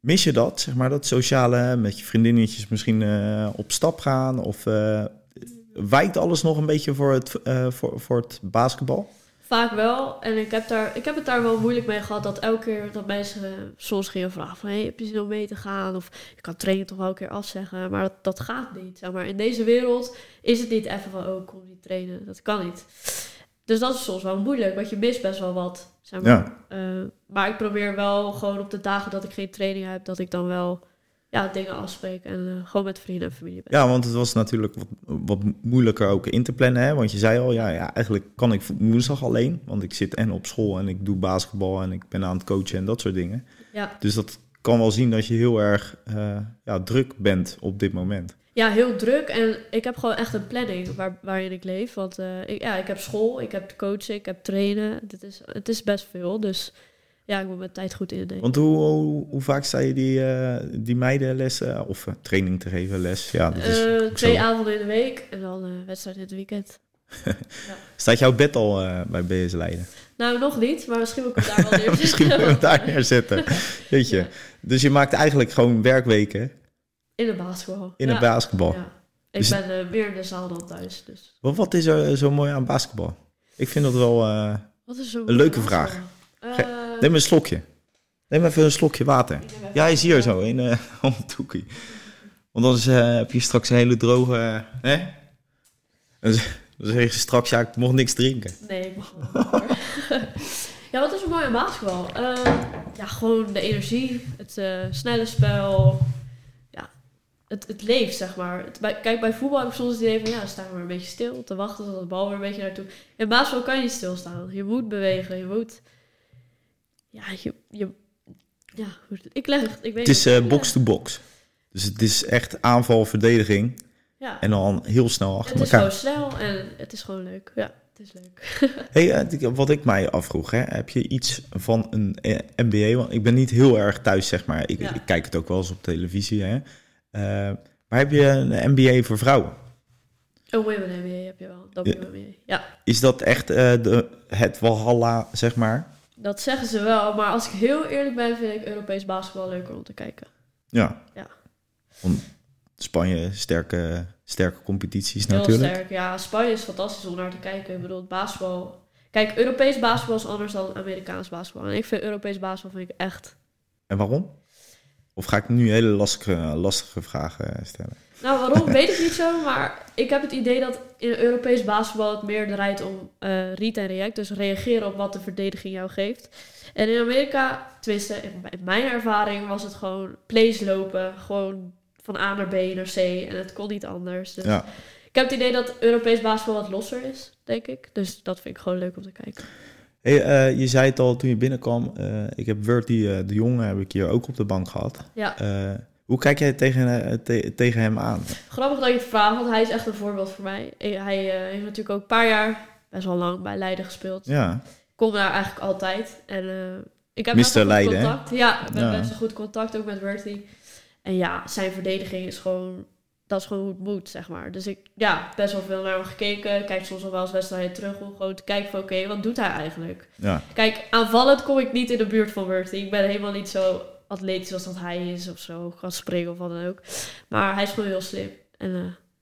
[SPEAKER 1] mis je dat, zeg maar, dat sociale, met je vriendinnetjes misschien eh, op stap gaan? Of eh, wijkt alles nog een beetje voor het, eh, voor, voor het basketbal?
[SPEAKER 2] Vaak wel. En ik heb, daar, ik heb het daar wel moeilijk mee gehad. Dat elke keer dat mensen eh, soms gingen vragen van... Hey, heb je zin om mee te gaan? Of je kan trainen toch wel een keer afzeggen. Maar dat, dat gaat niet. Zeg maar in deze wereld is het niet even van... Oh, kom niet trainen. Dat kan niet. Dus dat is soms wel moeilijk. Want je mist best wel wat. Zeg maar.
[SPEAKER 1] Ja.
[SPEAKER 2] Eh, maar ik probeer wel gewoon op de dagen dat ik geen training heb... Dat ik dan wel ja, dingen afspreek. En eh, gewoon met vrienden en familie ben.
[SPEAKER 1] Ja, want het was natuurlijk wat, wat moeilijker ook in te plannen. Hè? Want je zei al, ja, ja, eigenlijk kan ik woensdag alleen. Want ik zit en op school en ik doe basketbal en ik ben aan het coachen en dat soort dingen.
[SPEAKER 2] Ja.
[SPEAKER 1] Dus dat kan wel zien dat je heel erg eh, ja, druk bent op dit moment.
[SPEAKER 2] Ja, heel druk. En ik heb gewoon echt een planning waar, waarin ik leef. Want eh, ik, ja, ik heb school, ik heb coaching, ik heb trainen. Dit is, het is best veel. Dus ja, ik moet mijn tijd goed innemen.
[SPEAKER 1] Want hoe, hoe, hoe vaak sta je die, eh, die meiden lessen of eh, training te geven, les? Ja, dat is
[SPEAKER 2] Eh,
[SPEAKER 1] ook
[SPEAKER 2] twee
[SPEAKER 1] zo.
[SPEAKER 2] avonden in de week en dan eh wedstrijd in het weekend.
[SPEAKER 1] Staat jouw bed al eh, bij BS Leiden?
[SPEAKER 2] Nou, nog niet, maar misschien moet ik
[SPEAKER 1] *laughs*
[SPEAKER 2] het daar wel neer.
[SPEAKER 1] Misschien kunnen we het daar
[SPEAKER 2] *laughs*
[SPEAKER 1] neerzetten. Weet je.
[SPEAKER 2] Ja.
[SPEAKER 1] Dus je maakt eigenlijk gewoon werkweken
[SPEAKER 2] In de basketbal.
[SPEAKER 1] in
[SPEAKER 2] ja.
[SPEAKER 1] het basketbal.
[SPEAKER 2] Ja. Ik
[SPEAKER 1] Dus-
[SPEAKER 2] ben eh, meer in de zaal dan thuis. Dus.
[SPEAKER 1] Wat, wat is er eh, zo mooi aan basketbal? Ik vind dat wel... eh,
[SPEAKER 2] Wat is zo
[SPEAKER 1] Een leuke vraag.
[SPEAKER 2] Eh,
[SPEAKER 1] neem een slokje. Neem even een slokje water.
[SPEAKER 2] ik heb even-
[SPEAKER 1] Ja, hij is hier zo in eh *laughs* om het hoekie. Want anders eh, heb je straks een hele droge. eh, hè? Dan z- dan zeg je straks, ja, ik mocht niks drinken.
[SPEAKER 2] Nee, ik mag wel. hoor. *laughs* ja, wat is er mooi aan basketbal? Eh, ja, gewoon de energie, het eh, snelle spel. Ja, het, het leeft, zeg maar. Het, bij, kijk, bij voetbal heb ik soms het idee van... Ja, dan staan we maar een beetje stil. Te wachten tot de bal weer een beetje naartoe... In basketbal kan je niet stilstaan. Je moet bewegen, je moet... Ja, je... je ja, hoe- ik leg het... Ik weet
[SPEAKER 1] Het is
[SPEAKER 2] niet.
[SPEAKER 1] eh, box-to-box. Dus het is echt aanval, verdediging.
[SPEAKER 2] Ja,
[SPEAKER 1] En dan heel snel achter
[SPEAKER 2] het is gewoon
[SPEAKER 1] elkaar.
[SPEAKER 2] snel en het is gewoon leuk. Ja, het is leuk.
[SPEAKER 1] Hey, eh, ik- wat ik mij afvroeg, hè, heb je iets van een eh, NBA? Want ik ben niet heel erg thuis, zeg maar. Ik,
[SPEAKER 2] Ja.
[SPEAKER 1] ik kijk het ook wel eens op televisie. Hè. Eh, maar heb je een NBA voor vrouwen?
[SPEAKER 2] Een women NBA heb je wel. Dat
[SPEAKER 1] Ja.
[SPEAKER 2] WNBA. Ja.
[SPEAKER 1] Is dat echt eh, de, het Walhalla, zeg maar?
[SPEAKER 2] Dat zeggen ze wel, maar als ik heel eerlijk ben, vind ik Europees basketbal leuker om te kijken.
[SPEAKER 1] Ja.
[SPEAKER 2] Ja.
[SPEAKER 1] Want Spanje, sterke, sterke competities
[SPEAKER 2] Heel
[SPEAKER 1] natuurlijk.
[SPEAKER 2] sterk. Ja, Spanje is fantastisch om naar te kijken. Ik bedoel, het basketbal. Kijk, Europees basketbal is anders dan Amerikaans basketbal. En ik vind Europees basketbal vind ik echt.
[SPEAKER 1] En waarom? Of ga ik nu hele lastige, lastige vragen eh, stellen?
[SPEAKER 2] Nou, waarom weet ik niet zo, maar ik heb het idee dat in Europees basketbal het meer draait om eh read en react. Dus reageren op wat de verdediging jou geeft. En in Amerika, tenminste, in mijn- in mijn ervaring was het gewoon plays lopen. Gewoon van A naar B naar C. En het kon niet anders. Dus
[SPEAKER 1] Ja.
[SPEAKER 2] Ik heb het idee dat Europees basketbal wat losser is, denk ik. Dus dat vind ik gewoon leuk om te kijken.
[SPEAKER 1] Hey, eh, je zei het al toen je binnenkwam. eh, ik heb Wurty eh, de Jonge heb ik hier ook op de bank gehad.
[SPEAKER 2] Ja,
[SPEAKER 1] Eh, hoe kijk jij tegen, eh, te- tegen hem aan?
[SPEAKER 2] grappig dat je het vraagt, want hij is echt een voorbeeld voor mij. Eh, Hij eh, heeft natuurlijk ook een paar jaar, best wel lang, bij Leiden gespeeld.
[SPEAKER 1] Ja,
[SPEAKER 2] Kom daar eigenlijk altijd. En eh, ik heb
[SPEAKER 1] Mr.
[SPEAKER 2] best wel goed
[SPEAKER 1] Leiden, hè?
[SPEAKER 2] contact. Ja, ik heb
[SPEAKER 1] Ja.
[SPEAKER 2] best wel goed contact ook met Werthy. En ja, zijn verdediging is gewoon... Dat is gewoon hoe het moet, zeg maar. Dus ik, ja, best wel veel naar hem gekeken. Kijk soms nog wel eens wedstrijden terug om gewoon te kijken van... Oké, wat doet hij eigenlijk?
[SPEAKER 1] ja.
[SPEAKER 2] Kijk, aanvallend kom ik niet in de buurt van Worthy. Ik ben helemaal niet zo atletisch als dat hij is of zo. Kan springen of wat dan ook. Maar hij is gewoon heel slim. En eh,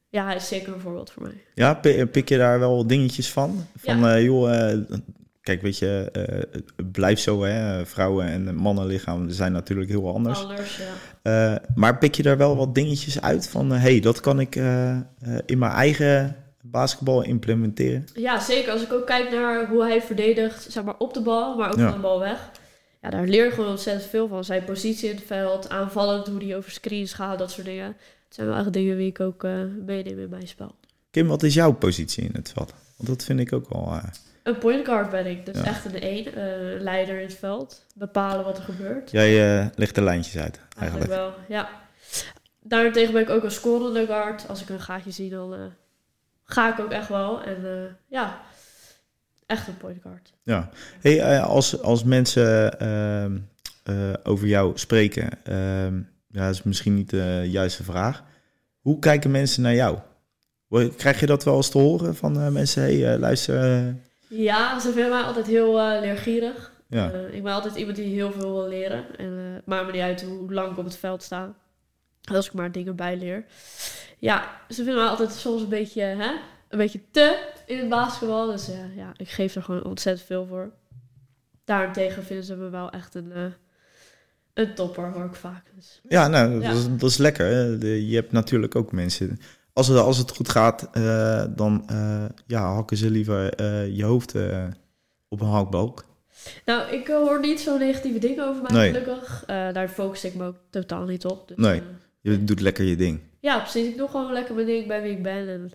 [SPEAKER 2] ja, hij is zeker een voorbeeld voor mij.
[SPEAKER 1] ja pi- pik je daar wel dingetjes van? Van eh, joh, eh, kijk weet je, eh, het blijft zo hè. Vrouwen en mannenlichamen zijn natuurlijk heel anders.
[SPEAKER 2] Anders, ja.
[SPEAKER 1] Eh, maar pik je daar wel wat dingetjes uit van, hé, hey, dat kan ik eh, eh, in mijn eigen basketbal implementeren?
[SPEAKER 2] Ja, zeker. Als ik ook kijk naar hoe hij verdedigt, zeg maar op de bal, maar ook
[SPEAKER 1] Ja.
[SPEAKER 2] van de bal weg. ja, daar leer je gewoon ontzettend veel van. Zijn positie in het veld, aanvallend, hoe die over screens gaat, dat soort dingen. Het zijn wel echt dingen die ik ook eh, meeneem in mijn spel.
[SPEAKER 1] Kim, wat is jouw positie in het veld? Want dat vind ik ook wel... eh,
[SPEAKER 2] Een point guard ben ik, dus
[SPEAKER 1] Ja.
[SPEAKER 2] echt een één, eh, leider in het veld. Bepalen wat er gebeurt.
[SPEAKER 1] jij eh, legt de lijntjes uit, eigenlijk.
[SPEAKER 2] Eigenlijk wel, ja. Daarentegen ben ik ook een scorende guard. Als ik een gaatje zie, dan eh, ga ik ook echt wel. En eh, ja, echt een point guard.
[SPEAKER 1] Ja. Hey, eh, als, als mensen ehm, eh, over jou spreken, ehm, ja, dat is misschien niet de juiste vraag. Hoe kijken mensen naar jou? Wo- Krijg je dat wel eens te horen van eh, mensen? Hé, hey, eh, luister. eh,
[SPEAKER 2] Ja, ze vinden mij altijd heel eh, leergierig.
[SPEAKER 1] ja.
[SPEAKER 2] Eh, ik ben altijd iemand die heel veel wil leren. En eh, het maakt me niet uit hoe lang ik op het veld sta. Als ik maar dingen bijleer. Ja, ze vinden mij altijd soms een beetje, hè, een beetje te in het basketbal. Dus eh, ja, ik geef er gewoon ontzettend veel voor. Daarentegen vinden ze me wel echt een, eh, een topper, hoor ik vaak. Dus,
[SPEAKER 1] ja, nou, dat,
[SPEAKER 2] Ja.
[SPEAKER 1] Is, dat is lekker. hè. De- je hebt natuurlijk ook mensen. Als het, als het goed gaat, eh, dan eh, ja, hakken ze liever eh, je hoofd eh, op een hakbalk.
[SPEAKER 2] nou, ik eh, hoor niet zo negatieve dingen over mij,
[SPEAKER 1] Nee.
[SPEAKER 2] gelukkig. Eh, daar focus ik me ook totaal niet op. Dus,
[SPEAKER 1] Nee.
[SPEAKER 2] eh,
[SPEAKER 1] Je doet lekker je ding.
[SPEAKER 2] ja, precies. Ik doe gewoon lekker mijn ding bij wie ik ben. En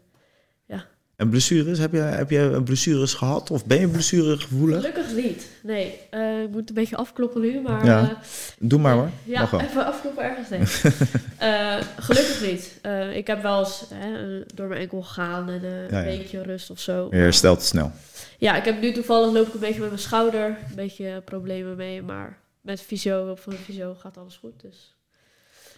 [SPEAKER 1] En blessures? Heb je, heb je blessures gehad? Of ben je blessuregevoelig?
[SPEAKER 2] Gelukkig niet. Nee, Eh, ik moet een beetje afkloppen nu, maar...
[SPEAKER 1] Ja.
[SPEAKER 2] eh,
[SPEAKER 1] Doe maar hoor.
[SPEAKER 2] ja,
[SPEAKER 1] Mag wel.
[SPEAKER 2] even afkloppen ergens heen.
[SPEAKER 1] *laughs*
[SPEAKER 2] Eh, gelukkig niet. Eh, ik heb wel eens hè, eh, door mijn enkel gegaan en eh,
[SPEAKER 1] Ja,
[SPEAKER 2] een
[SPEAKER 1] ja.
[SPEAKER 2] beetje rust of zo.
[SPEAKER 1] Je herstelt snel.
[SPEAKER 2] Ja, ik heb nu toevallig loop ik een beetje met mijn schouder, een beetje problemen mee, maar met fysio, hulp van de fysio gaat alles goed. Dus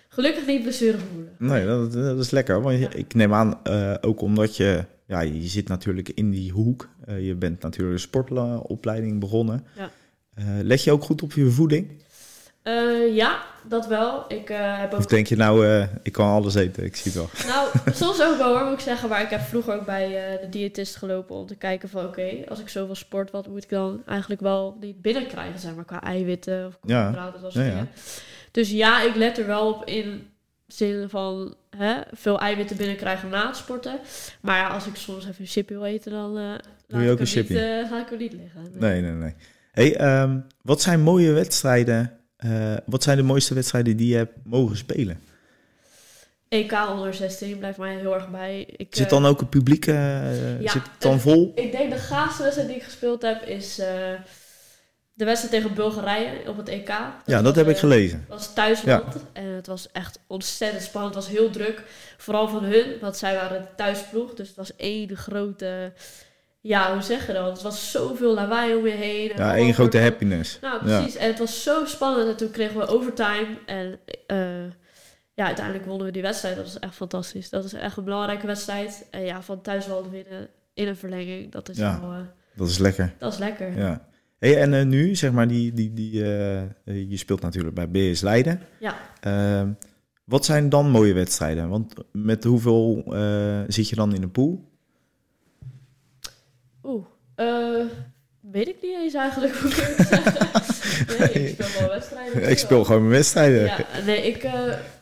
[SPEAKER 2] gelukkig niet blessure voelen.
[SPEAKER 1] Nee, dat, dat is lekker. Want je-
[SPEAKER 2] Ja.
[SPEAKER 1] ik neem aan, eh, ook omdat je... Ja, je zit natuurlijk in die hoek. Eh, je bent natuurlijk een sportopleiding begonnen.
[SPEAKER 2] Ja.
[SPEAKER 1] Eh, let je ook goed op je voeding?
[SPEAKER 2] Eh, ja, dat wel. Ik eh, heb ook
[SPEAKER 1] Of denk je nou, eh, ik kan alles eten, ik zie het wel.
[SPEAKER 2] Nou, soms ook wel hoor, moet ik zeggen. Maar ik heb vroeger ook bij eh, de diëtist gelopen om te kijken van... oké, als ik zoveel sport, wat moet ik dan eigenlijk wel niet binnenkrijgen? Zeg maar qua eiwitten of
[SPEAKER 1] Ja,
[SPEAKER 2] koolhydraten, dat soort
[SPEAKER 1] ja, ja.
[SPEAKER 2] dingen. Dus ja, ik let er wel op in zin van... Hè, veel eiwitten binnenkrijgen na het sporten. Maar ja, als ik soms even een chipje wil eten, dan eh,
[SPEAKER 1] je
[SPEAKER 2] laat ik
[SPEAKER 1] ook
[SPEAKER 2] hem
[SPEAKER 1] een chipje?
[SPEAKER 2] Niet, eh, laat ik hem niet liggen.
[SPEAKER 1] Nee, nee, nee. Hey, ehm, wat zijn mooie wedstrijden? eh, wat zijn de mooiste wedstrijden die je hebt mogen spelen?
[SPEAKER 2] EK onder 16 blijft mij heel erg bij. Ik,
[SPEAKER 1] Zit
[SPEAKER 2] eh,
[SPEAKER 1] dan ook het publiek eh,
[SPEAKER 2] Ja,
[SPEAKER 1] zit het dan
[SPEAKER 2] eh,
[SPEAKER 1] vol?
[SPEAKER 2] Ik denk de gaafste wedstrijd die ik gespeeld heb is eh, de wedstrijd tegen Bulgarije op het EK.
[SPEAKER 1] Ja, dat heb
[SPEAKER 2] was,
[SPEAKER 1] ik
[SPEAKER 2] eh,
[SPEAKER 1] gelezen.
[SPEAKER 2] was thuisland en het was echt ontzettend spannend. Het was heel druk, vooral van hun, want zij waren de thuisploeg. Dus het was één grote, ja, hoe zeg je dat? Het was zoveel lawaai om je heen. en
[SPEAKER 1] Ja,
[SPEAKER 2] allemaal
[SPEAKER 1] één grote
[SPEAKER 2] voor-
[SPEAKER 1] happiness.
[SPEAKER 2] Nou,
[SPEAKER 1] Ja.
[SPEAKER 2] precies. En het was zo spannend en toen kregen we overtime en... eh, ja, uiteindelijk wonnen we die wedstrijd. Dat was echt fantastisch. Dat is echt een belangrijke wedstrijd. En ja, van thuisland winnen in een verlenging, dat is
[SPEAKER 1] Ja.
[SPEAKER 2] wel... eh,
[SPEAKER 1] Dat is lekker.
[SPEAKER 2] dat is lekker. Ja.
[SPEAKER 1] Ja. Hey, en eh, nu, zeg maar, die, die, die, eh, eh, je speelt natuurlijk bij BS Leiden. Ehm, wat zijn dan mooie wedstrijden? Want met hoeveel eh, zit je dan in een pool?
[SPEAKER 2] Oeh. eh, weet ik niet eens eigenlijk hoe ik
[SPEAKER 1] *laughs*
[SPEAKER 2] het zeggen. Nee, ik speel wel wedstrijden.
[SPEAKER 1] ik speel gewoon mijn wedstrijden.
[SPEAKER 2] Ja, nee, ik, eh,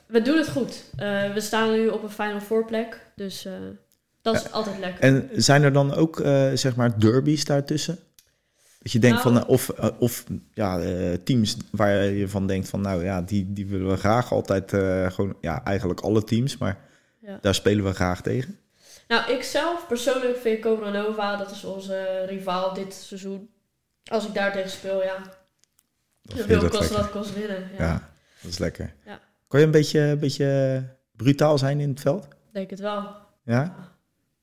[SPEAKER 2] we doen het goed. Eh, we staan nu op een Final Four plek. Dus eh, dat is altijd lekker.
[SPEAKER 1] En zijn er dan ook, eh, zeg maar, derbies daartussen? Dat je denkt
[SPEAKER 2] Nou.
[SPEAKER 1] van, eh, of, eh, of ja, eh, teams waar je van denkt van, nou ja, die, die willen we graag altijd, eh, gewoon, ja, eigenlijk alle teams, maar
[SPEAKER 2] Ja.
[SPEAKER 1] daar spelen we graag tegen.
[SPEAKER 2] Nou, ik zelf persoonlijk vind Cobra Nova, dat is onze rivaal dit seizoen. Als ik daar tegen speel, ja.
[SPEAKER 1] Dan vind je
[SPEAKER 2] wil
[SPEAKER 1] dat
[SPEAKER 2] kosten
[SPEAKER 1] lekker.
[SPEAKER 2] wat kost winnen. Ja,
[SPEAKER 1] Ja, dat is lekker.
[SPEAKER 2] Ja.
[SPEAKER 1] Kan je een beetje, een beetje brutaal zijn in het veld?
[SPEAKER 2] Denk het wel.
[SPEAKER 1] Ja?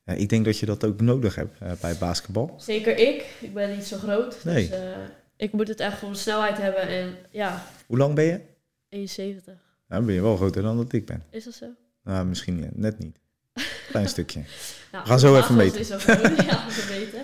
[SPEAKER 1] ja? Ik denk dat je dat ook nodig hebt eh, bij basketbal.
[SPEAKER 2] Zeker ik. Ik ben niet zo groot.
[SPEAKER 1] Nee.
[SPEAKER 2] Dus eh, ik moet het echt voor mijn snelheid hebben. En ja,
[SPEAKER 1] Hoe lang ben je?
[SPEAKER 2] 71.
[SPEAKER 1] Nou, ben je wel groter dan dat ik ben.
[SPEAKER 2] Is dat zo?
[SPEAKER 1] Nou, misschien eh, net niet. Klein stukje.
[SPEAKER 2] Nou,
[SPEAKER 1] We gaan zo
[SPEAKER 2] voor
[SPEAKER 1] even
[SPEAKER 2] Basel
[SPEAKER 1] meten.
[SPEAKER 2] Is zo groot. *laughs* ja, we weten.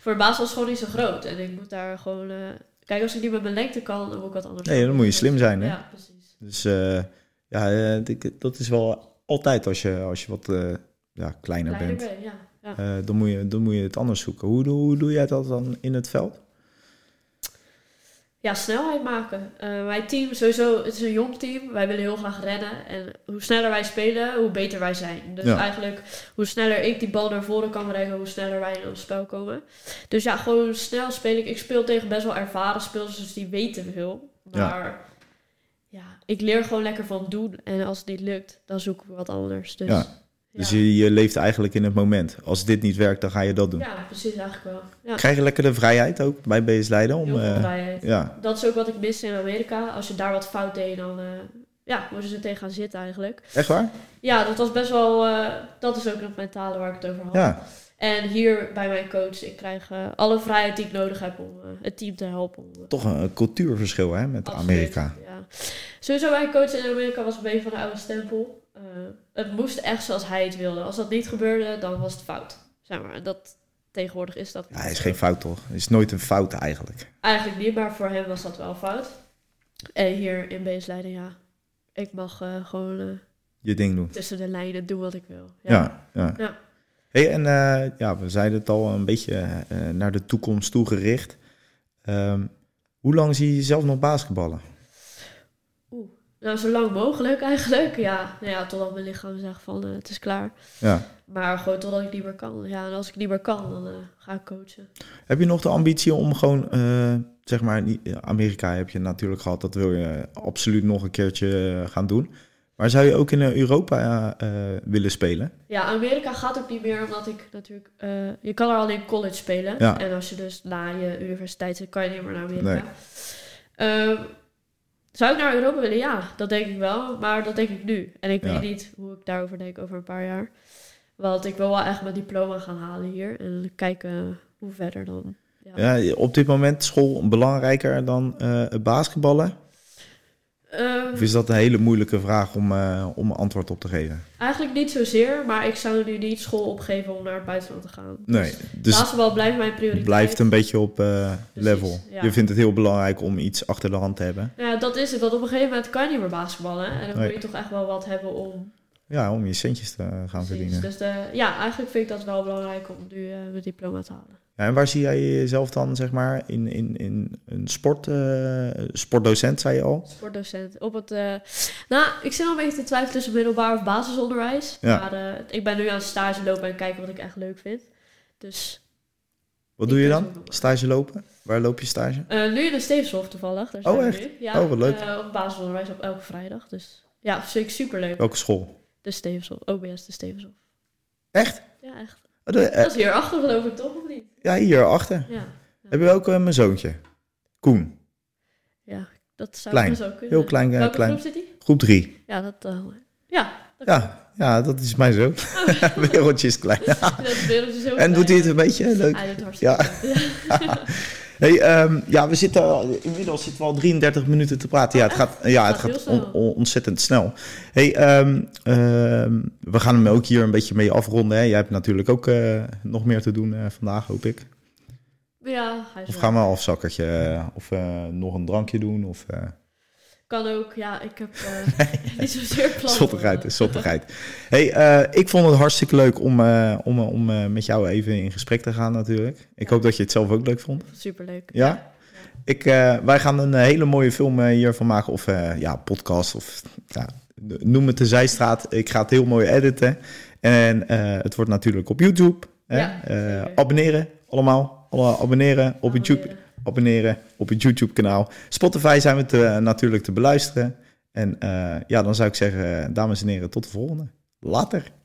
[SPEAKER 2] Voor Basel is gewoon niet zo groot. En ik moet daar gewoon... eh, kijk, als ik niet met mijn lengte kan, dan moet ik wat anders
[SPEAKER 1] Nee, dan moet je slim zijn, hè?
[SPEAKER 2] Ja, precies.
[SPEAKER 1] Dus eh, ja, eh, ik- dat is wel altijd als je, als je wat eh, ja, kleiner
[SPEAKER 2] Kleiner
[SPEAKER 1] bent.
[SPEAKER 2] ben, ja. ja.
[SPEAKER 1] Eh, dan, moet je, dan moet je het anders zoeken. Hoe, doe- hoe doe jij dat dan in het veld?
[SPEAKER 2] ja, snelheid maken. Eh, mijn team, sowieso, het is een jong team. Wij willen heel graag rennen. En hoe sneller wij spelen, hoe beter wij zijn. Dus
[SPEAKER 1] Ja.
[SPEAKER 2] eigenlijk, hoe sneller ik die bal naar voren kan brengen, hoe sneller wij in ons spel komen. Dus ja, gewoon snel spelen. Ik, ik speel tegen best wel ervaren spelers, dus die weten veel.
[SPEAKER 1] Ja.
[SPEAKER 2] Maar ja. ik leer gewoon lekker van doen. En als het niet lukt, dan zoek ik wat anders. Dus,
[SPEAKER 1] Ja. Dus je, je leeft eigenlijk in het moment. Als dit niet werkt, dan ga je dat doen.
[SPEAKER 2] Ja, precies eigenlijk wel. Ja,
[SPEAKER 1] Krijg je lekker de vrijheid ook bij BS Leiden om...
[SPEAKER 2] heel veel
[SPEAKER 1] eh,
[SPEAKER 2] vrijheid.
[SPEAKER 1] ja,
[SPEAKER 2] Dat is ook wat ik miste in Amerika. Als je daar wat fout deed, dan eh ja, moesten ze tegen gaan zitten eigenlijk.
[SPEAKER 1] echt waar?
[SPEAKER 2] Ja, dat was best wel... eh, dat is ook het mentale waar ik het over had.
[SPEAKER 1] Ja,
[SPEAKER 2] En hier bij mijn coach, ik krijg eh, alle vrijheid die ik nodig heb om eh, het team te helpen. Om, eh,
[SPEAKER 1] toch een, een cultuurverschil hè, met
[SPEAKER 2] Absoluut,
[SPEAKER 1] Amerika.
[SPEAKER 2] Ja. Sowieso mijn coach in Amerika was een beetje van de oude stempel. Eh, het moest echt zoals hij het wilde. Als dat niet gebeurde, dan was het fout. Zeg maar, en dat, tegenwoordig is dat
[SPEAKER 1] Ja, hij is geen fout toch? Het is nooit een fout eigenlijk.
[SPEAKER 2] Eigenlijk niet, maar voor hem was dat wel fout. En hier in Beesleiden, ja. Ik mag eh, gewoon eh,
[SPEAKER 1] Je ding doen.
[SPEAKER 2] tussen de lijnen doen wat ik wil.
[SPEAKER 1] Ja, ja.
[SPEAKER 2] Ja.
[SPEAKER 1] Hey, en eh, ja, we zeiden het al een beetje eh, naar de toekomst toegericht. Ehm, hoe lang zie je jezelf nog basketballen?
[SPEAKER 2] Nou, zo lang mogelijk eigenlijk. Ja, nou ja totdat mijn lichaam zegt van eh, het is klaar.
[SPEAKER 1] Ja.
[SPEAKER 2] Maar gewoon totdat ik niet meer kan. Ja, en als ik niet meer kan, dan eh, ga ik coachen.
[SPEAKER 1] Heb je nog de ambitie om gewoon, eh, zeg maar, niet- Amerika heb je natuurlijk gehad, dat wil je absoluut nog een keertje eh, gaan doen. Maar zou je ook in eh, Europa eh, eh, willen spelen?
[SPEAKER 2] Ja, Amerika gaat ook niet meer, omdat ik natuurlijk... eh, je kan er alleen college spelen.
[SPEAKER 1] Ja.
[SPEAKER 2] En als je dus na je universiteit zit, kan je niet meer naar Amerika.
[SPEAKER 1] Nee.
[SPEAKER 2] Ehm, zou ik naar Europa willen? Ja, dat denk ik wel. Maar dat denk ik nu. En ik
[SPEAKER 1] Ja.
[SPEAKER 2] weet niet hoe ik daarover denk over een paar jaar. Want ik wil wel echt mijn diploma gaan halen hier. En kijken hoe verder dan.
[SPEAKER 1] Ja, op dit moment school belangrijker dan eh, het basketballen?
[SPEAKER 2] Ehm,
[SPEAKER 1] Of is dat een hele moeilijke vraag om, eh, om een antwoord op te geven?
[SPEAKER 2] eigenlijk niet zozeer. Maar ik zou nu niet school opgeven om naar het buitenland te gaan.
[SPEAKER 1] Nee, dus
[SPEAKER 2] Basketbal blijft mijn
[SPEAKER 1] het
[SPEAKER 2] prioriteit.
[SPEAKER 1] blijft een beetje op eh, level.
[SPEAKER 2] ja.
[SPEAKER 1] Je vindt het heel belangrijk om iets achter de hand te hebben.
[SPEAKER 2] Nou ja, dat is het. Want op een gegeven moment kan je niet meer basketballen. En dan
[SPEAKER 1] Nee.
[SPEAKER 2] moet je toch echt wel wat hebben om...
[SPEAKER 1] Ja, om je centjes te eh, gaan
[SPEAKER 2] Precies.
[SPEAKER 1] verdienen.
[SPEAKER 2] Dus de, ja, eigenlijk vind ik dat wel belangrijk om nu eh, mijn diploma te halen.
[SPEAKER 1] Ja, en waar zie jij jezelf dan, zeg maar, in, in, in een sport, eh, sportdocent, zei je al?
[SPEAKER 2] Sportdocent. Dus Op het, eh, nou, ik zit wel een beetje te twijfelen tussen middelbaar of basisonderwijs.
[SPEAKER 1] Ja.
[SPEAKER 2] Maar eh, ik ben nu aan het stage lopen en kijken wat ik echt leuk vind. Dus
[SPEAKER 1] Wat
[SPEAKER 2] Ik
[SPEAKER 1] doe je
[SPEAKER 2] ben
[SPEAKER 1] dan?
[SPEAKER 2] zo-
[SPEAKER 1] Stage lopen? Waar loop je stage?
[SPEAKER 2] eh, nu in de Stevenshof toevallig. Daar
[SPEAKER 1] Oh,
[SPEAKER 2] zijn we
[SPEAKER 1] echt?
[SPEAKER 2] Nu. Ja,
[SPEAKER 1] Oh, wat leuk.
[SPEAKER 2] eh, op basisonderwijs op elke vrijdag. Dus ja, vind ik superleuk.
[SPEAKER 1] Welke school?
[SPEAKER 2] De Stevenshof. OBS de Stevenshof.
[SPEAKER 1] Echt?
[SPEAKER 2] Ja, echt.
[SPEAKER 1] Oh, de- eh,
[SPEAKER 2] Dat is hierachter geloof ik toch, of niet?
[SPEAKER 1] ja, hierachter.
[SPEAKER 2] Ja,
[SPEAKER 1] Hebben we ook eh, mijn zoontje. Koen.
[SPEAKER 2] ja dat zou
[SPEAKER 1] Klein.
[SPEAKER 2] best wel kunnen.
[SPEAKER 1] Heel klein, eh,
[SPEAKER 2] Welke
[SPEAKER 1] klein.
[SPEAKER 2] groep zit hij?
[SPEAKER 1] Groep drie.
[SPEAKER 2] Ja, dat... eh,
[SPEAKER 1] *laughs*
[SPEAKER 2] ja, dat,
[SPEAKER 1] Ja, ja, dat is mijn
[SPEAKER 2] *laughs*
[SPEAKER 1] zoon. *laughs* Wereldje is klein.
[SPEAKER 2] dus dat wereld is heel
[SPEAKER 1] En doet hij het een beetje? eh, Leuk.
[SPEAKER 2] Hij doet het hartstikke goed.
[SPEAKER 1] Hey, ehm, ja, we zitten al- inmiddels zitten we al 33 minuten te praten. Ja, het gaat, ja, het
[SPEAKER 2] Gaat heel
[SPEAKER 1] gaat on-
[SPEAKER 2] snel.
[SPEAKER 1] on- ontzettend snel. Hey, ehm, ehm, we gaan hem ook hier een beetje mee afronden. Hè. Jij hebt natuurlijk ook eh, nog meer te doen eh, vandaag, hoop ik.
[SPEAKER 2] Ja, *laughs* hij is
[SPEAKER 1] Of
[SPEAKER 2] wel-
[SPEAKER 1] gaan we een afzakkertje eh, of eh, nog een drankje doen? Of eh
[SPEAKER 2] Kan ook, ja, ik heb
[SPEAKER 1] *laughs*
[SPEAKER 2] eh, niet zozeer plannen.
[SPEAKER 1] zottigheid, zottigheid. Hey, eh, ik vond het hartstikke leuk om, eh, om, eh, om eh, met jou even in gesprek te gaan natuurlijk. Ik
[SPEAKER 2] Ja.
[SPEAKER 1] hoop dat je het zelf ook leuk vond.
[SPEAKER 2] Superleuk.
[SPEAKER 1] Ja? Ik, eh, wij gaan een hele mooie film eh, hiervan maken. Of eh, ja, podcast. Of ja, noem het de Zijstraat. Ik ga het heel mooi editen. En eh, het wordt natuurlijk op YouTube. Hè?
[SPEAKER 2] Ja,
[SPEAKER 1] Eh,
[SPEAKER 2] zeker.
[SPEAKER 1] abonneren allemaal. Alle abonneren op het, YouTube, abonneren op het YouTube kanaal. Spotify zijn we te, eh, natuurlijk te beluisteren. En eh, ja, dan zou ik zeggen, eh, dames en heren, tot de volgende. Later.